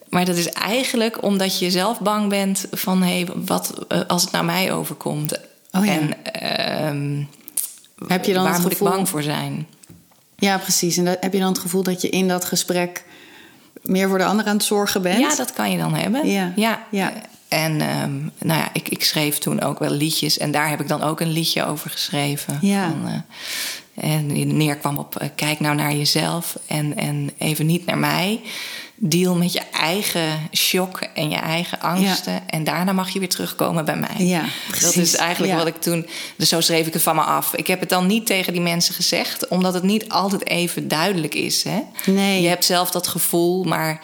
B: Maar dat is eigenlijk omdat je zelf bang bent van hé, wat eh, als het nou mij overkomt.
A: Oh ja.
B: En ehm,
A: Heb je dan
B: waar
A: het
B: moet
A: gevoel-
B: ik bang voor zijn?
A: Ja, precies. En dat, heb je dan het gevoel dat je in dat gesprek meer voor de ander aan het zorgen bent?
B: Ja, dat kan je dan hebben.
A: Ja. Ja.
B: En ehm, nou ja, ik, ik schreef toen ook wel liedjes. En daar heb ik dan ook een liedje over geschreven.
A: Ja.
B: Van, eh, en die neerkwam op eh, kijk nou naar jezelf en, en even niet naar mij. Deal met je eigen shock en je eigen angsten. En daarna mag je weer terugkomen bij mij.
A: Ja,
B: dat
A: precies.
B: is eigenlijk
A: Ja.
B: wat ik toen... Dus zo schreef ik het van me af. Ik heb het dan niet tegen die mensen gezegd... omdat het niet altijd even duidelijk is. Hè?
A: Nee.
B: Je hebt zelf dat gevoel, maar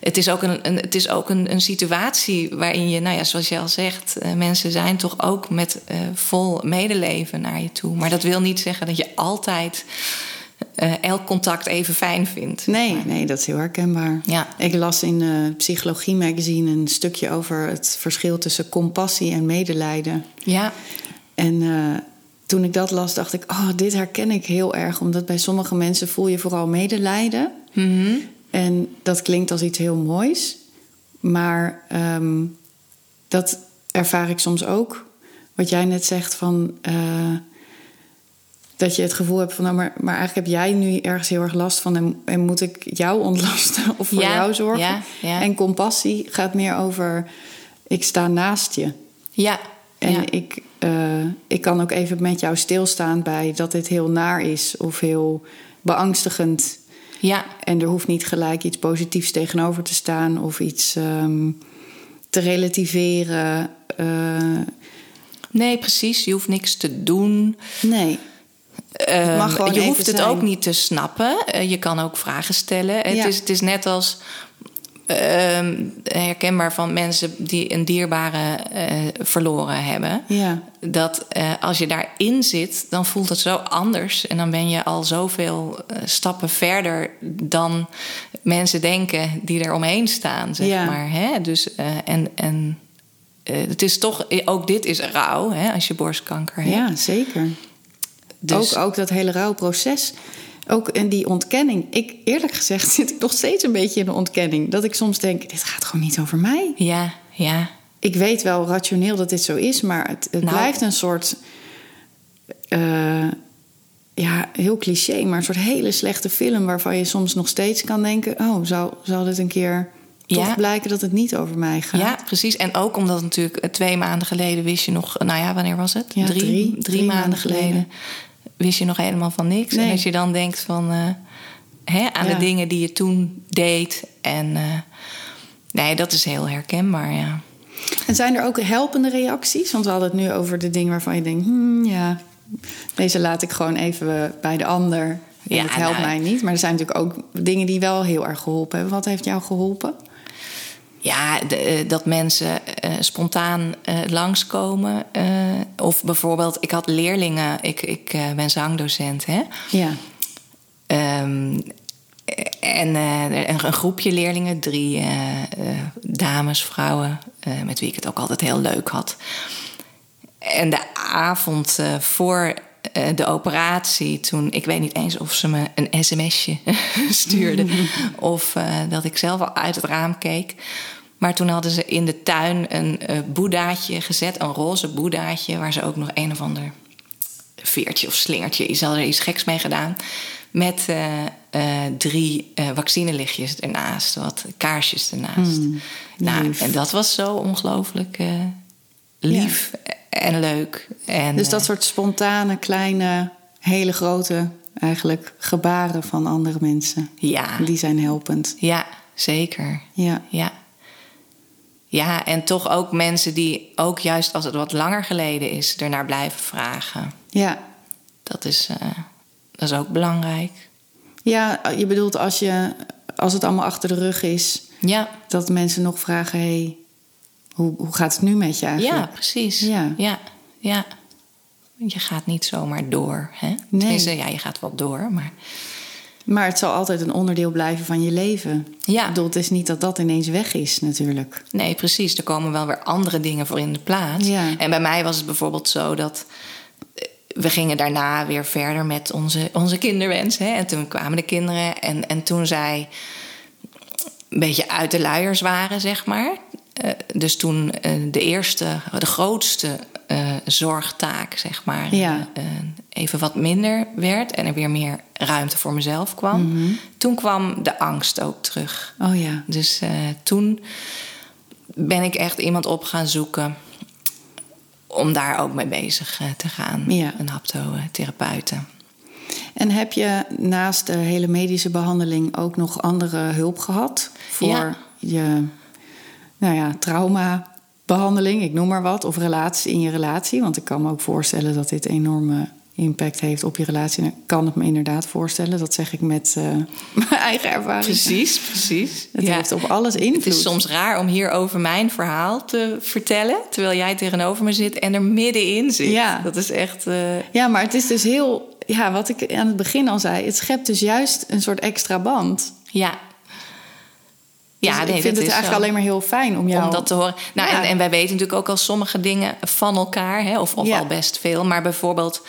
B: het is ook een, een, het is ook een, een situatie waarin je, nou ja, zoals je al zegt, eh, mensen zijn toch ook met eh, vol medeleven naar je toe. Maar dat wil niet zeggen dat je altijd eh, elk contact even fijn vindt.
A: Nee, nee, dat is heel herkenbaar.
B: Ja.
A: Ik las in eh Psychologie Magazine een stukje over het verschil tussen compassie en medelijden.
B: Ja,
A: En eh, toen ik dat las, dacht ik, oh, dit herken ik heel erg. Omdat bij sommige mensen voel je vooral medelijden.
B: Mhm.
A: En dat klinkt als iets heel moois. Maar ehm, dat ervaar ik soms ook. Wat jij net zegt van... eh, dat je het gevoel hebt van, nou, maar, maar eigenlijk heb jij nu ergens heel erg last van... en, en moet ik jou ontlasten of voor
B: Ja,
A: jou zorgen?
B: ja, ja.
A: En compassie gaat meer over, ik sta naast je.
B: ja,
A: En
B: ja.
A: ik, eh, ik kan ook even met jou stilstaan bij dat dit heel naar is of heel beangstigend.
B: ja.
A: En er hoeft niet gelijk iets positiefs tegenover te staan of iets ehm, te relativeren. Eh,
B: Nee, precies. Je hoeft niks te doen.
A: nee.
B: Ehm,
A: mag gewoon
B: je
A: even
B: hoeft het
A: zijn.
B: ook niet te snappen. Eh, je kan ook vragen stellen.
A: Ja.
B: Het, is, het is net als ehm, herkenbaar van mensen die een dierbare eh, verloren hebben.
A: Ja.
B: Dat eh, als je daarin zit, dan voelt het zo anders. En dan ben je al zoveel eh, stappen verder dan mensen denken die er omheen staan. Zeg
A: Ja.
B: maar, hè? Dus, eh, en, en eh, het is toch, ook dit is rouw hè, als je borstkanker hebt.
A: ja, zeker.
B: Dus-
A: Ook, ook dat hele rouwproces. Ook en die ontkenning. Ik, eerlijk gezegd zit ik nog steeds een beetje in de ontkenning. Dat ik soms denk, dit gaat gewoon niet over mij.
B: Ja, ja.
A: ik weet wel rationeel dat dit zo is, maar het, het
B: Nou.
A: blijft een soort. eh, ja, heel cliché, maar een soort hele slechte film waarvan je soms nog steeds kan denken: oh, zou, zou dit een keer
B: Ja.
A: toch blijken dat het niet over mij gaat?
B: Ja, precies. En ook omdat natuurlijk eh, twee maanden geleden wist je nog... Nou ja, wanneer was het?
A: Ja, drie-
B: drie,
A: drie
B: maanden,
A: maanden
B: geleden.
A: geleden.
B: wist je nog helemaal van niks.
A: Nee.
B: En als je dan denkt van... eh, hè, aan
A: Ja.
B: de dingen die je toen deed. En eh, nee, dat is heel herkenbaar, ja.
A: En zijn er ook helpende reacties? Want we hadden het nu over de dingen waarvan je denkt: hmm, ja, deze laat ik gewoon even eh, bij de ander. En
B: Ja,
A: het helpt
B: nou.
A: mij niet. Maar er zijn natuurlijk ook dingen die wel heel erg geholpen hebben. Wat heeft jou geholpen?
B: Ja, de, eh, dat mensen eh, spontaan eh, langskomen. eh, of bijvoorbeeld, ik had leerlingen... Ik, ik eh, ben zangdocent, hè.
A: Ja,
B: Ehm, en eh, er- een, een groepje leerlingen, drie eh, eh, dames, vrouwen, eh, met wie ik het ook altijd heel leuk had. En de avond eh, voor eh, de operatie, toen ik weet niet eens of ze me een sms'je stuurde of eh, dat ik zelf al uit het raam keek. Maar toen hadden ze in de tuin een eh boedaatje gezet, een roze boedaatje, waar ze ook nog een of ander veertje of slingertje. Ze hadden er iets geks mee gedaan. Met eh, eh, drie eh, vaccinelichtjes ernaast, wat kaarsjes ernaast. nou,
A: Hmm, lief.
B: en dat was zo ongelooflijk eh, lief en leuk. En,
A: Dus dat
B: eh,
A: soort spontane, kleine, hele grote eigenlijk gebaren van andere mensen.
B: ja,
A: Die zijn helpend.
B: ja, zeker.
A: Ja,
B: Ja. Ja, en toch ook mensen die ook juist als het wat langer geleden is, ernaar blijven vragen.
A: ja.
B: Dat is, eh, dat is ook belangrijk.
A: ja je bedoelt als, je, als het allemaal achter de rug is,
B: Ja,
A: dat mensen nog vragen: hé, hey, hoe, hoe gaat het nu met je eigenlijk?
B: ja precies.
A: Ja.
B: ja. ja. Je gaat niet zomaar door. Hè?
A: Nee.
B: Tenminste, ja, je gaat wel door, maar
A: Maar het zal altijd een onderdeel blijven van je leven.
B: ja.
A: Ik bedoel, het is niet dat dat ineens weg is natuurlijk.
B: Nee, precies. Er komen wel weer andere dingen voor in de plaats.
A: Ja.
B: En bij mij was het bijvoorbeeld zo dat. eh, We gingen daarna weer verder met onze, onze kinderwens. Hè? En toen kwamen de kinderen. En, en toen zij een beetje uit de luiers waren, zeg maar. eh, dus toen eh, de eerste, de grootste eh, zorgtaak, zeg maar,
A: Ja.
B: eh, eh, even wat minder werd. En er weer meer ruimte voor mezelf kwam.
A: Mhm.
B: Toen kwam de angst ook terug.
A: Oh ja.
B: Dus eh, toen ben ik echt iemand op gaan zoeken om daar ook mee bezig eh, te gaan.
A: Ja.
B: Een haptotherapeute.
A: En heb je naast de hele medische behandeling ook nog andere hulp gehad? Voor
B: Ja.
A: je nou ja, traumabehandeling, ik noem maar wat. Of relatie in je relatie. Want ik kan me ook voorstellen dat dit enorme impact heeft op je relatie. En ik kan het me inderdaad voorstellen. Dat zeg ik met eh, mijn eigen ervaring.
B: Precies, precies.
A: Het heeft op alles invloed.
B: Het is soms raar om hier over mijn verhaal te vertellen... terwijl jij tegenover me zit en er middenin zit.
A: Ja.
B: Dat is echt... eh,
A: Ja, maar het is dus heel... Ja, wat ik aan het begin al zei. Het schept dus juist een soort extra band.
B: ja.
A: Dus
B: nee,
A: ik
B: dat
A: vind het
B: is
A: eigenlijk
B: zo.
A: alleen maar heel fijn om jou...
B: Om dat te horen. Nou,
A: Ja.
B: en, en wij weten natuurlijk ook al sommige dingen van elkaar, hè, of, of
A: Ja.
B: al best veel. Maar bijvoorbeeld,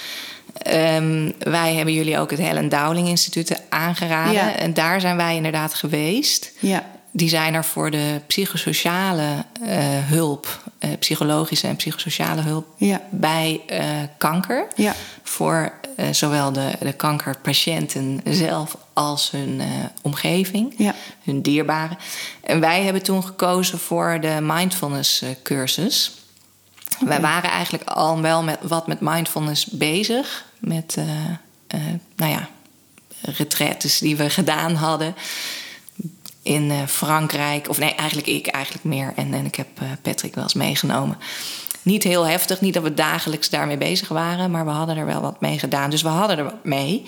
B: ehm, wij hebben jullie ook het Helen Dowling Instituut aangeraden.
A: Ja.
B: En daar zijn wij inderdaad geweest.
A: Ja,
B: Die zijn er voor de psychosociale eh, hulp, eh, psychologische en psychosociale hulp
A: ja,
B: bij eh, kanker.
A: ja.
B: Voor eh, zowel de, de kankerpatiënten zelf als hun eh, omgeving
A: Ja,
B: hun dierbaren. En wij hebben toen gekozen voor de mindfulness eh, cursus. Wij waren eigenlijk al wel met, wat met mindfulness bezig. Met, eh, eh, nou ja, retretes die we gedaan hadden in eh, Frankrijk. Of nee, eigenlijk ik eigenlijk meer. En, en ik heb eh, Patrick wel eens meegenomen. Niet heel heftig, niet dat we dagelijks daarmee bezig waren, maar we hadden er wel wat mee gedaan. Dus we hadden er wat mee.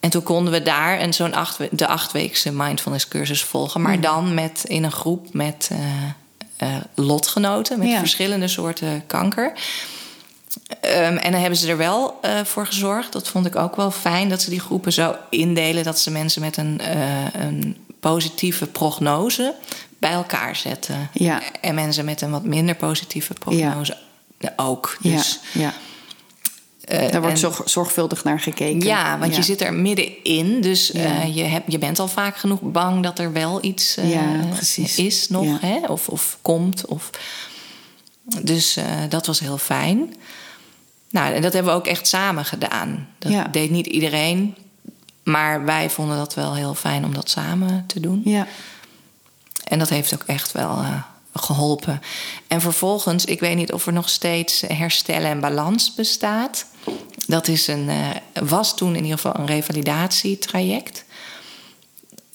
B: En toen konden we daar een zo'n acht, we- de achtweekse mindfulness cursus volgen. Maar dan met, in een groep met eh, eh, lotgenoten met
A: Ja.
B: verschillende soorten kanker. Ehm, en dan hebben ze er wel eh, voor gezorgd. Dat vond ik ook wel fijn dat ze die groepen zo indelen. Dat ze mensen met een, eh, een positieve prognose bij elkaar zetten.
A: Ja.
B: En mensen met een wat minder positieve prognose ook.
A: ja,
B: Dus,
A: ja.
B: eh,
A: Daar wordt
B: en-
A: zorg- zorgvuldig naar gekeken.
B: ja, want je zit er middenin. Dus
A: Ja.
B: eh, je, hebt je bent al vaak genoeg bang dat er wel iets eh,
A: Ja, precies.
B: is nog.
A: Ja.
B: Hè? Of, of komt. Of... Dus eh, dat was heel fijn. Nou, en dat hebben we ook echt samen gedaan. Dat
A: Ja.
B: deed niet iedereen. Maar wij vonden dat wel heel fijn om dat samen te doen.
A: Ja,
B: En dat heeft ook echt wel eh, geholpen. En vervolgens, ik weet niet of er nog steeds herstellen en balans bestaat. Dat is een, eh, was toen in ieder geval een revalidatietraject.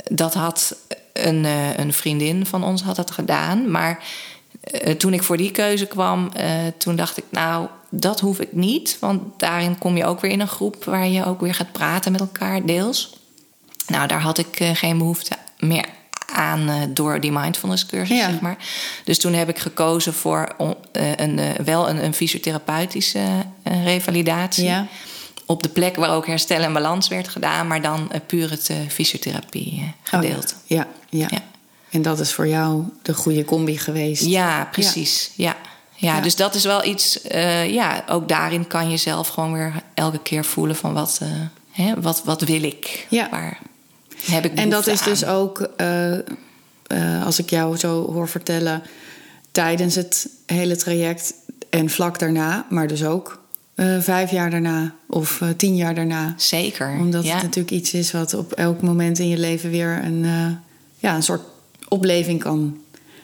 B: Dat had een, eh, een vriendin van ons had dat gedaan. Maar eh, toen ik voor die keuze kwam, eh, toen dacht ik, nou, dat hoef ik niet. Want daarin kom je ook weer in een groep waar je ook weer gaat praten met elkaar, deels. Nou, daar had ik eh, geen behoefte meer aan eh, door die mindfulness cursus,
A: Ja.
B: zeg maar. Dus toen heb ik gekozen voor om, eh, een, eh, wel een, een fysiotherapeutische eh, revalidatie.
A: Ja.
B: Op de plek waar ook herstel en balans werd gedaan, maar dan eh, puur het eh, fysiotherapie eh,
A: Oh,
B: gedeelte.
A: ja. Ja, ja.
B: Ja.
A: En dat is voor jou de goede combi geweest.
B: Ja, precies. Ja. Ja.
A: Ja.
B: dus dat is wel iets. eh, ja, ook daarin kan je zelf gewoon weer elke keer voelen van wat, eh, hè, wat, wat wil ik?
A: Ja.
B: Waar heb ik
A: En dat
B: behoefte
A: is dus
B: aan?
A: ook, eh, eh, als ik jou zo hoor vertellen, tijdens het hele traject en vlak daarna, maar dus ook eh, vijf jaar daarna of eh, tien jaar daarna.
B: Zeker.
A: Omdat
B: ja.
A: het natuurlijk iets is wat op elk moment in je leven weer een, eh, ja, een soort opleving kan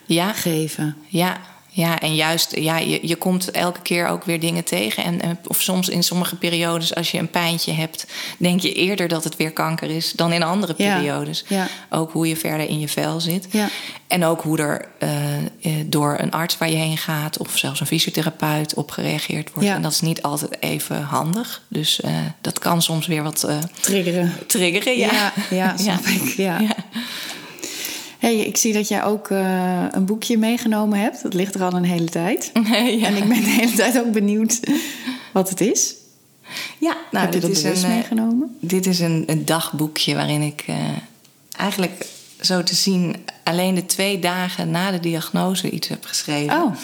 B: ja,
A: geven.
B: ja, ja, en juist, ja, je, je komt elke keer ook weer dingen tegen. En, en- of soms in sommige periodes, als je een pijntje hebt, denk je eerder dat het weer kanker is dan in andere
A: Ja,
B: periodes.
A: ja.
B: Ook hoe je verder in je vel zit.
A: Ja.
B: En ook hoe er eh, eh, door een arts waar je heen gaat, of zelfs een fysiotherapeut op gereageerd wordt.
A: Ja.
B: En dat is niet altijd even handig. Dus eh, dat kan soms weer wat eh,
A: Triggeren.
B: triggeren. Ja,
A: Ja, ja, snap ik, ja. Hey, ik zie dat jij ook eh, een boekje meegenomen hebt. Dat ligt er al een hele tijd.
B: Ja.
A: En ik ben de hele tijd ook benieuwd wat het is?
B: Ja, nou,
A: Heb je dat
B: dit, is
A: bewust
B: een, eh,
A: meegenomen?
B: dit is een, een dagboekje waarin ik eh, eigenlijk zo te zien alleen de twee dagen na de diagnose iets heb geschreven.
A: Oh,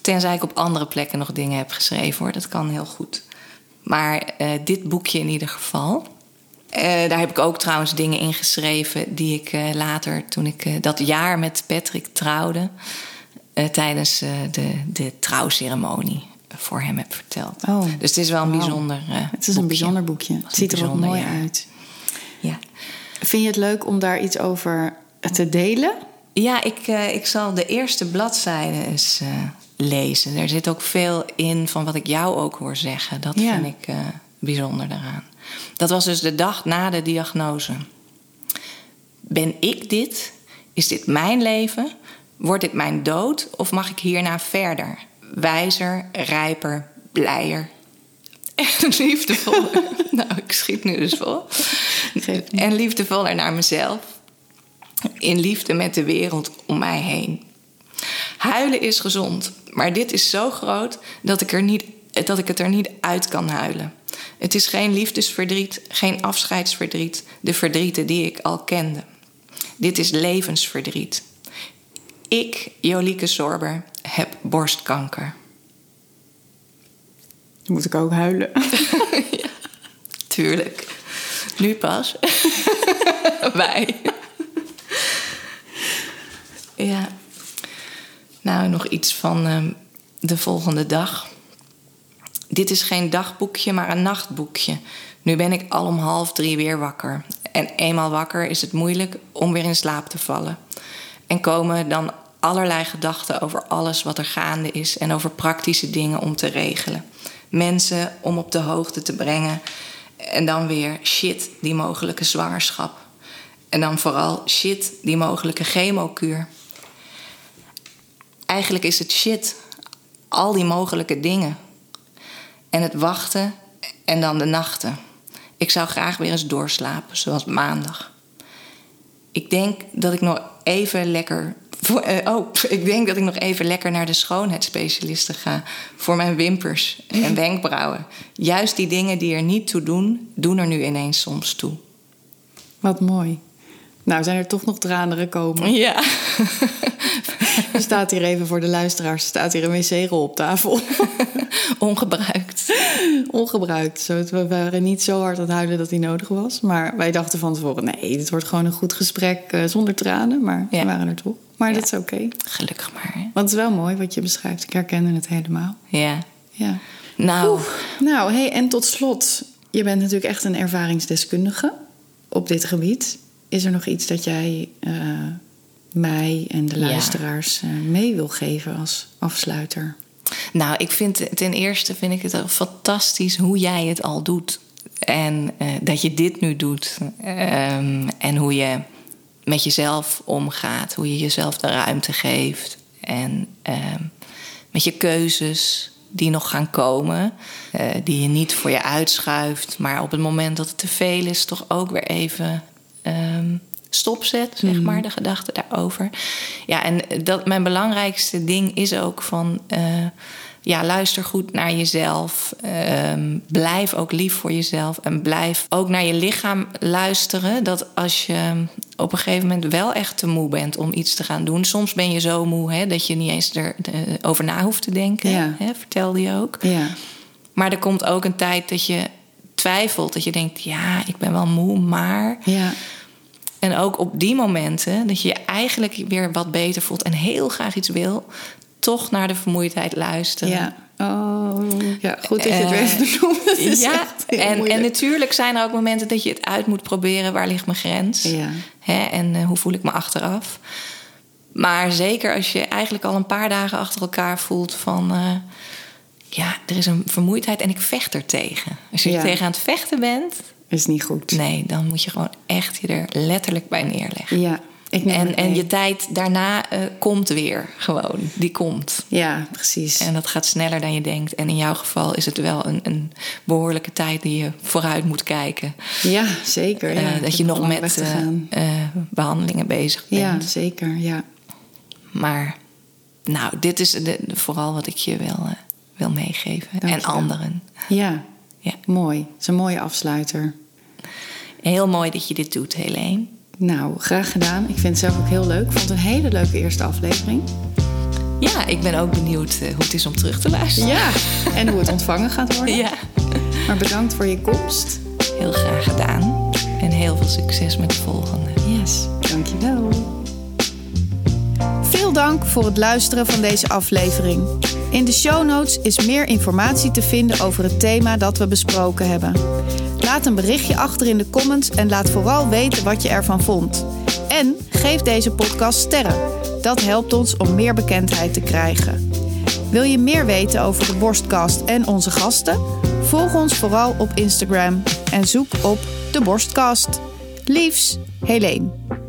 B: Tenzij ik op andere plekken nog dingen heb geschreven hoor, dat kan heel goed. Maar eh, dit boekje in ieder geval. Eh, daar heb ik ook trouwens dingen in geschreven die ik eh, later, toen ik eh, dat jaar met Patrick trouwde, eh, tijdens eh, de, de trouwceremonie voor hem heb verteld.
A: Oh.
B: Dus het is wel een
A: Wauw.
B: bijzonder. eh,
A: het is een bijzonder boekje.
B: was
A: Het ziet
B: een
A: er ook
B: bijzonder
A: mooi
B: jaar.
A: uit.
B: Ja.
A: Vind je het leuk om daar iets over te delen?
B: Ja, ik, eh, ik zal de eerste bladzijde eens eh, lezen. Er zit ook veel in van wat ik jou ook hoor zeggen. Dat
A: Ja.
B: vind ik eh, bijzonder daaraan. Dat was dus de dag na de diagnose. Ben ik dit? Is dit mijn leven? Wordt dit mijn dood? Of mag ik hierna verder? Wijzer, rijper, blijer. En liefdevoller. nou, ik schiet nu dus vol.
A: Geeft niet.
B: En liefdevoller naar mezelf. In liefde met de wereld om mij heen. Huilen is gezond, maar dit is zo groot dat ik, er niet, dat ik het er niet uit kan huilen. Het is geen liefdesverdriet, geen afscheidsverdriet, de verdrieten die ik al kende. Dit is levensverdriet. Ik, Jolieke Sorber, heb borstkanker.
A: Dan moet ik ook huilen.
B: Tuurlijk. Nu pas. Wij. ja. Nou, nog iets van ehm, de volgende dag. Dit is geen dagboekje, maar een nachtboekje. Nu ben ik al om half drie weer wakker. En eenmaal wakker is het moeilijk om weer in slaap te vallen. En komen dan allerlei gedachten over alles wat er gaande is en over praktische dingen om te regelen. Mensen om op de hoogte te brengen. En dan weer shit, die mogelijke zwangerschap. En dan vooral shit, die mogelijke chemokuur. Eigenlijk is het shit, al die mogelijke dingen en het wachten en dan de nachten. Ik zou graag weer eens doorslapen, zoals maandag. Ik denk dat ik nog even lekker. voor- eh, oh, ik denk dat ik nog even lekker naar de schoonheidsspecialiste ga. Voor mijn wimpers en wenkbrauwen. Juist die dingen die er niet toe doen, doen er nu ineens soms toe.
A: Wat mooi. Nou, zijn er toch nog tranen gekomen.
B: Ja.
A: Er staat hier even voor de luisteraars, er staat hier een wc-rol op tafel.
B: Ongebruikt.
A: Ongebruikt. Zo, We waren niet zo hard aan het huilen dat die nodig was. Maar wij dachten van tevoren, nee, dit wordt gewoon een goed gesprek eh, zonder tranen. Maar
B: Ja.
A: we waren er toch. Maar
B: Ja.
A: dat is oké.
B: Gelukkig maar. Hè?
A: Want het is wel mooi wat je beschrijft. Ik herkende het helemaal.
B: Ja.
A: Ja.
B: Nou.
A: Oeh. Nou, hey, en tot slot. Je bent natuurlijk echt een ervaringsdeskundige op dit gebied. Is er nog iets dat jij eh, mij en de
B: Ja.
A: luisteraars eh, mee wil geven als afsluiter?
B: Nou, ik vind ten eerste vind ik het al fantastisch hoe jij het al doet. En eh, dat je dit nu doet. Ehm, en hoe je met jezelf omgaat. Hoe je jezelf de ruimte geeft. En ehm, met je keuzes die nog gaan komen. eh, die je niet voor je uitschuift. Maar op het moment dat het te veel is, toch ook weer even ehm, stopzet, zeg maar, de gedachten daarover. Ja, en dat, mijn belangrijkste ding is ook van... eh, ja, luister goed naar jezelf. Ehm, blijf ook lief voor jezelf. En blijf ook naar je lichaam luisteren. Dat als je op een gegeven moment wel echt te moe bent om iets te gaan doen... soms ben je zo moe hè, dat je niet eens erover na hoeft te denken.
A: Ja.
B: Hè, vertelde je ook.
A: Ja.
B: Maar er komt ook een tijd dat je twijfelt. Dat je denkt, ja, ik ben wel moe, maar...
A: Ja.
B: En ook op die momenten dat je je eigenlijk weer wat beter voelt en heel graag iets wil, toch naar de vermoeidheid luisteren.
A: Ja. Oh, ja. Goed dat je het weer even
B: Eh,
A: benoemt. Het is
B: Ja,
A: echt heel
B: en, en
A: moeilijk.
B: natuurlijk zijn er ook momenten dat je het uit moet proberen. Waar ligt mijn grens?
A: Ja.
B: Hè, en eh, hoe voel ik me achteraf? Maar zeker als je eigenlijk al een paar dagen achter elkaar voelt van... eh, ja, er is een vermoeidheid en ik vecht er tegen. Als je
A: Ja.
B: er tegen aan het vechten bent...
A: is niet goed.
B: nee, dan moet je gewoon echt je er letterlijk bij neerleggen.
A: Ja. Ik neem
B: En,
A: het
B: en
A: mee.
B: je tijd daarna eh, komt weer gewoon. Die komt.
A: Ja, precies.
B: En dat gaat sneller dan je denkt. En in jouw geval is het wel een, een behoorlijke tijd die je vooruit moet kijken.
A: Ja, zeker. Ja.
B: Eh,
A: Ik
B: dat
A: heb
B: je nog
A: lang
B: met
A: weg te
B: eh,
A: gaan.
B: eh, behandelingen bezig
A: ja,
B: bent.
A: zeker. Ja.
B: Maar nou, dit is de, de- vooral wat ik je wil eh, wil meegeven. en
A: Dankjewel.
B: anderen.
A: Ja.
B: Ja.
A: mooi. Dat is een mooie afsluiter.
B: Heel mooi dat je dit doet, Helene.
A: Nou, graag gedaan. Ik vind het zelf ook heel leuk. Ik vond het een hele leuke eerste aflevering.
B: Ja, ik ben ook benieuwd eh, hoe het is om terug te luisteren.
A: Ja, en hoe het ontvangen gaat worden.
B: ja.
A: Maar bedankt voor je komst.
B: Heel graag gedaan. En heel veel succes met de volgende.
A: Yes, dankjewel. Veel dank voor het luisteren van deze aflevering. In de show notes is meer informatie te vinden over het thema dat we besproken hebben. Laat een berichtje achter in de comments en laat vooral weten wat je ervan vond. En geef deze podcast sterren. Dat helpt ons om meer bekendheid te krijgen. Wil je meer weten over de borstkast en onze gasten? Volg ons vooral op Instagram en zoek op de borstkast. Liefs, Helene.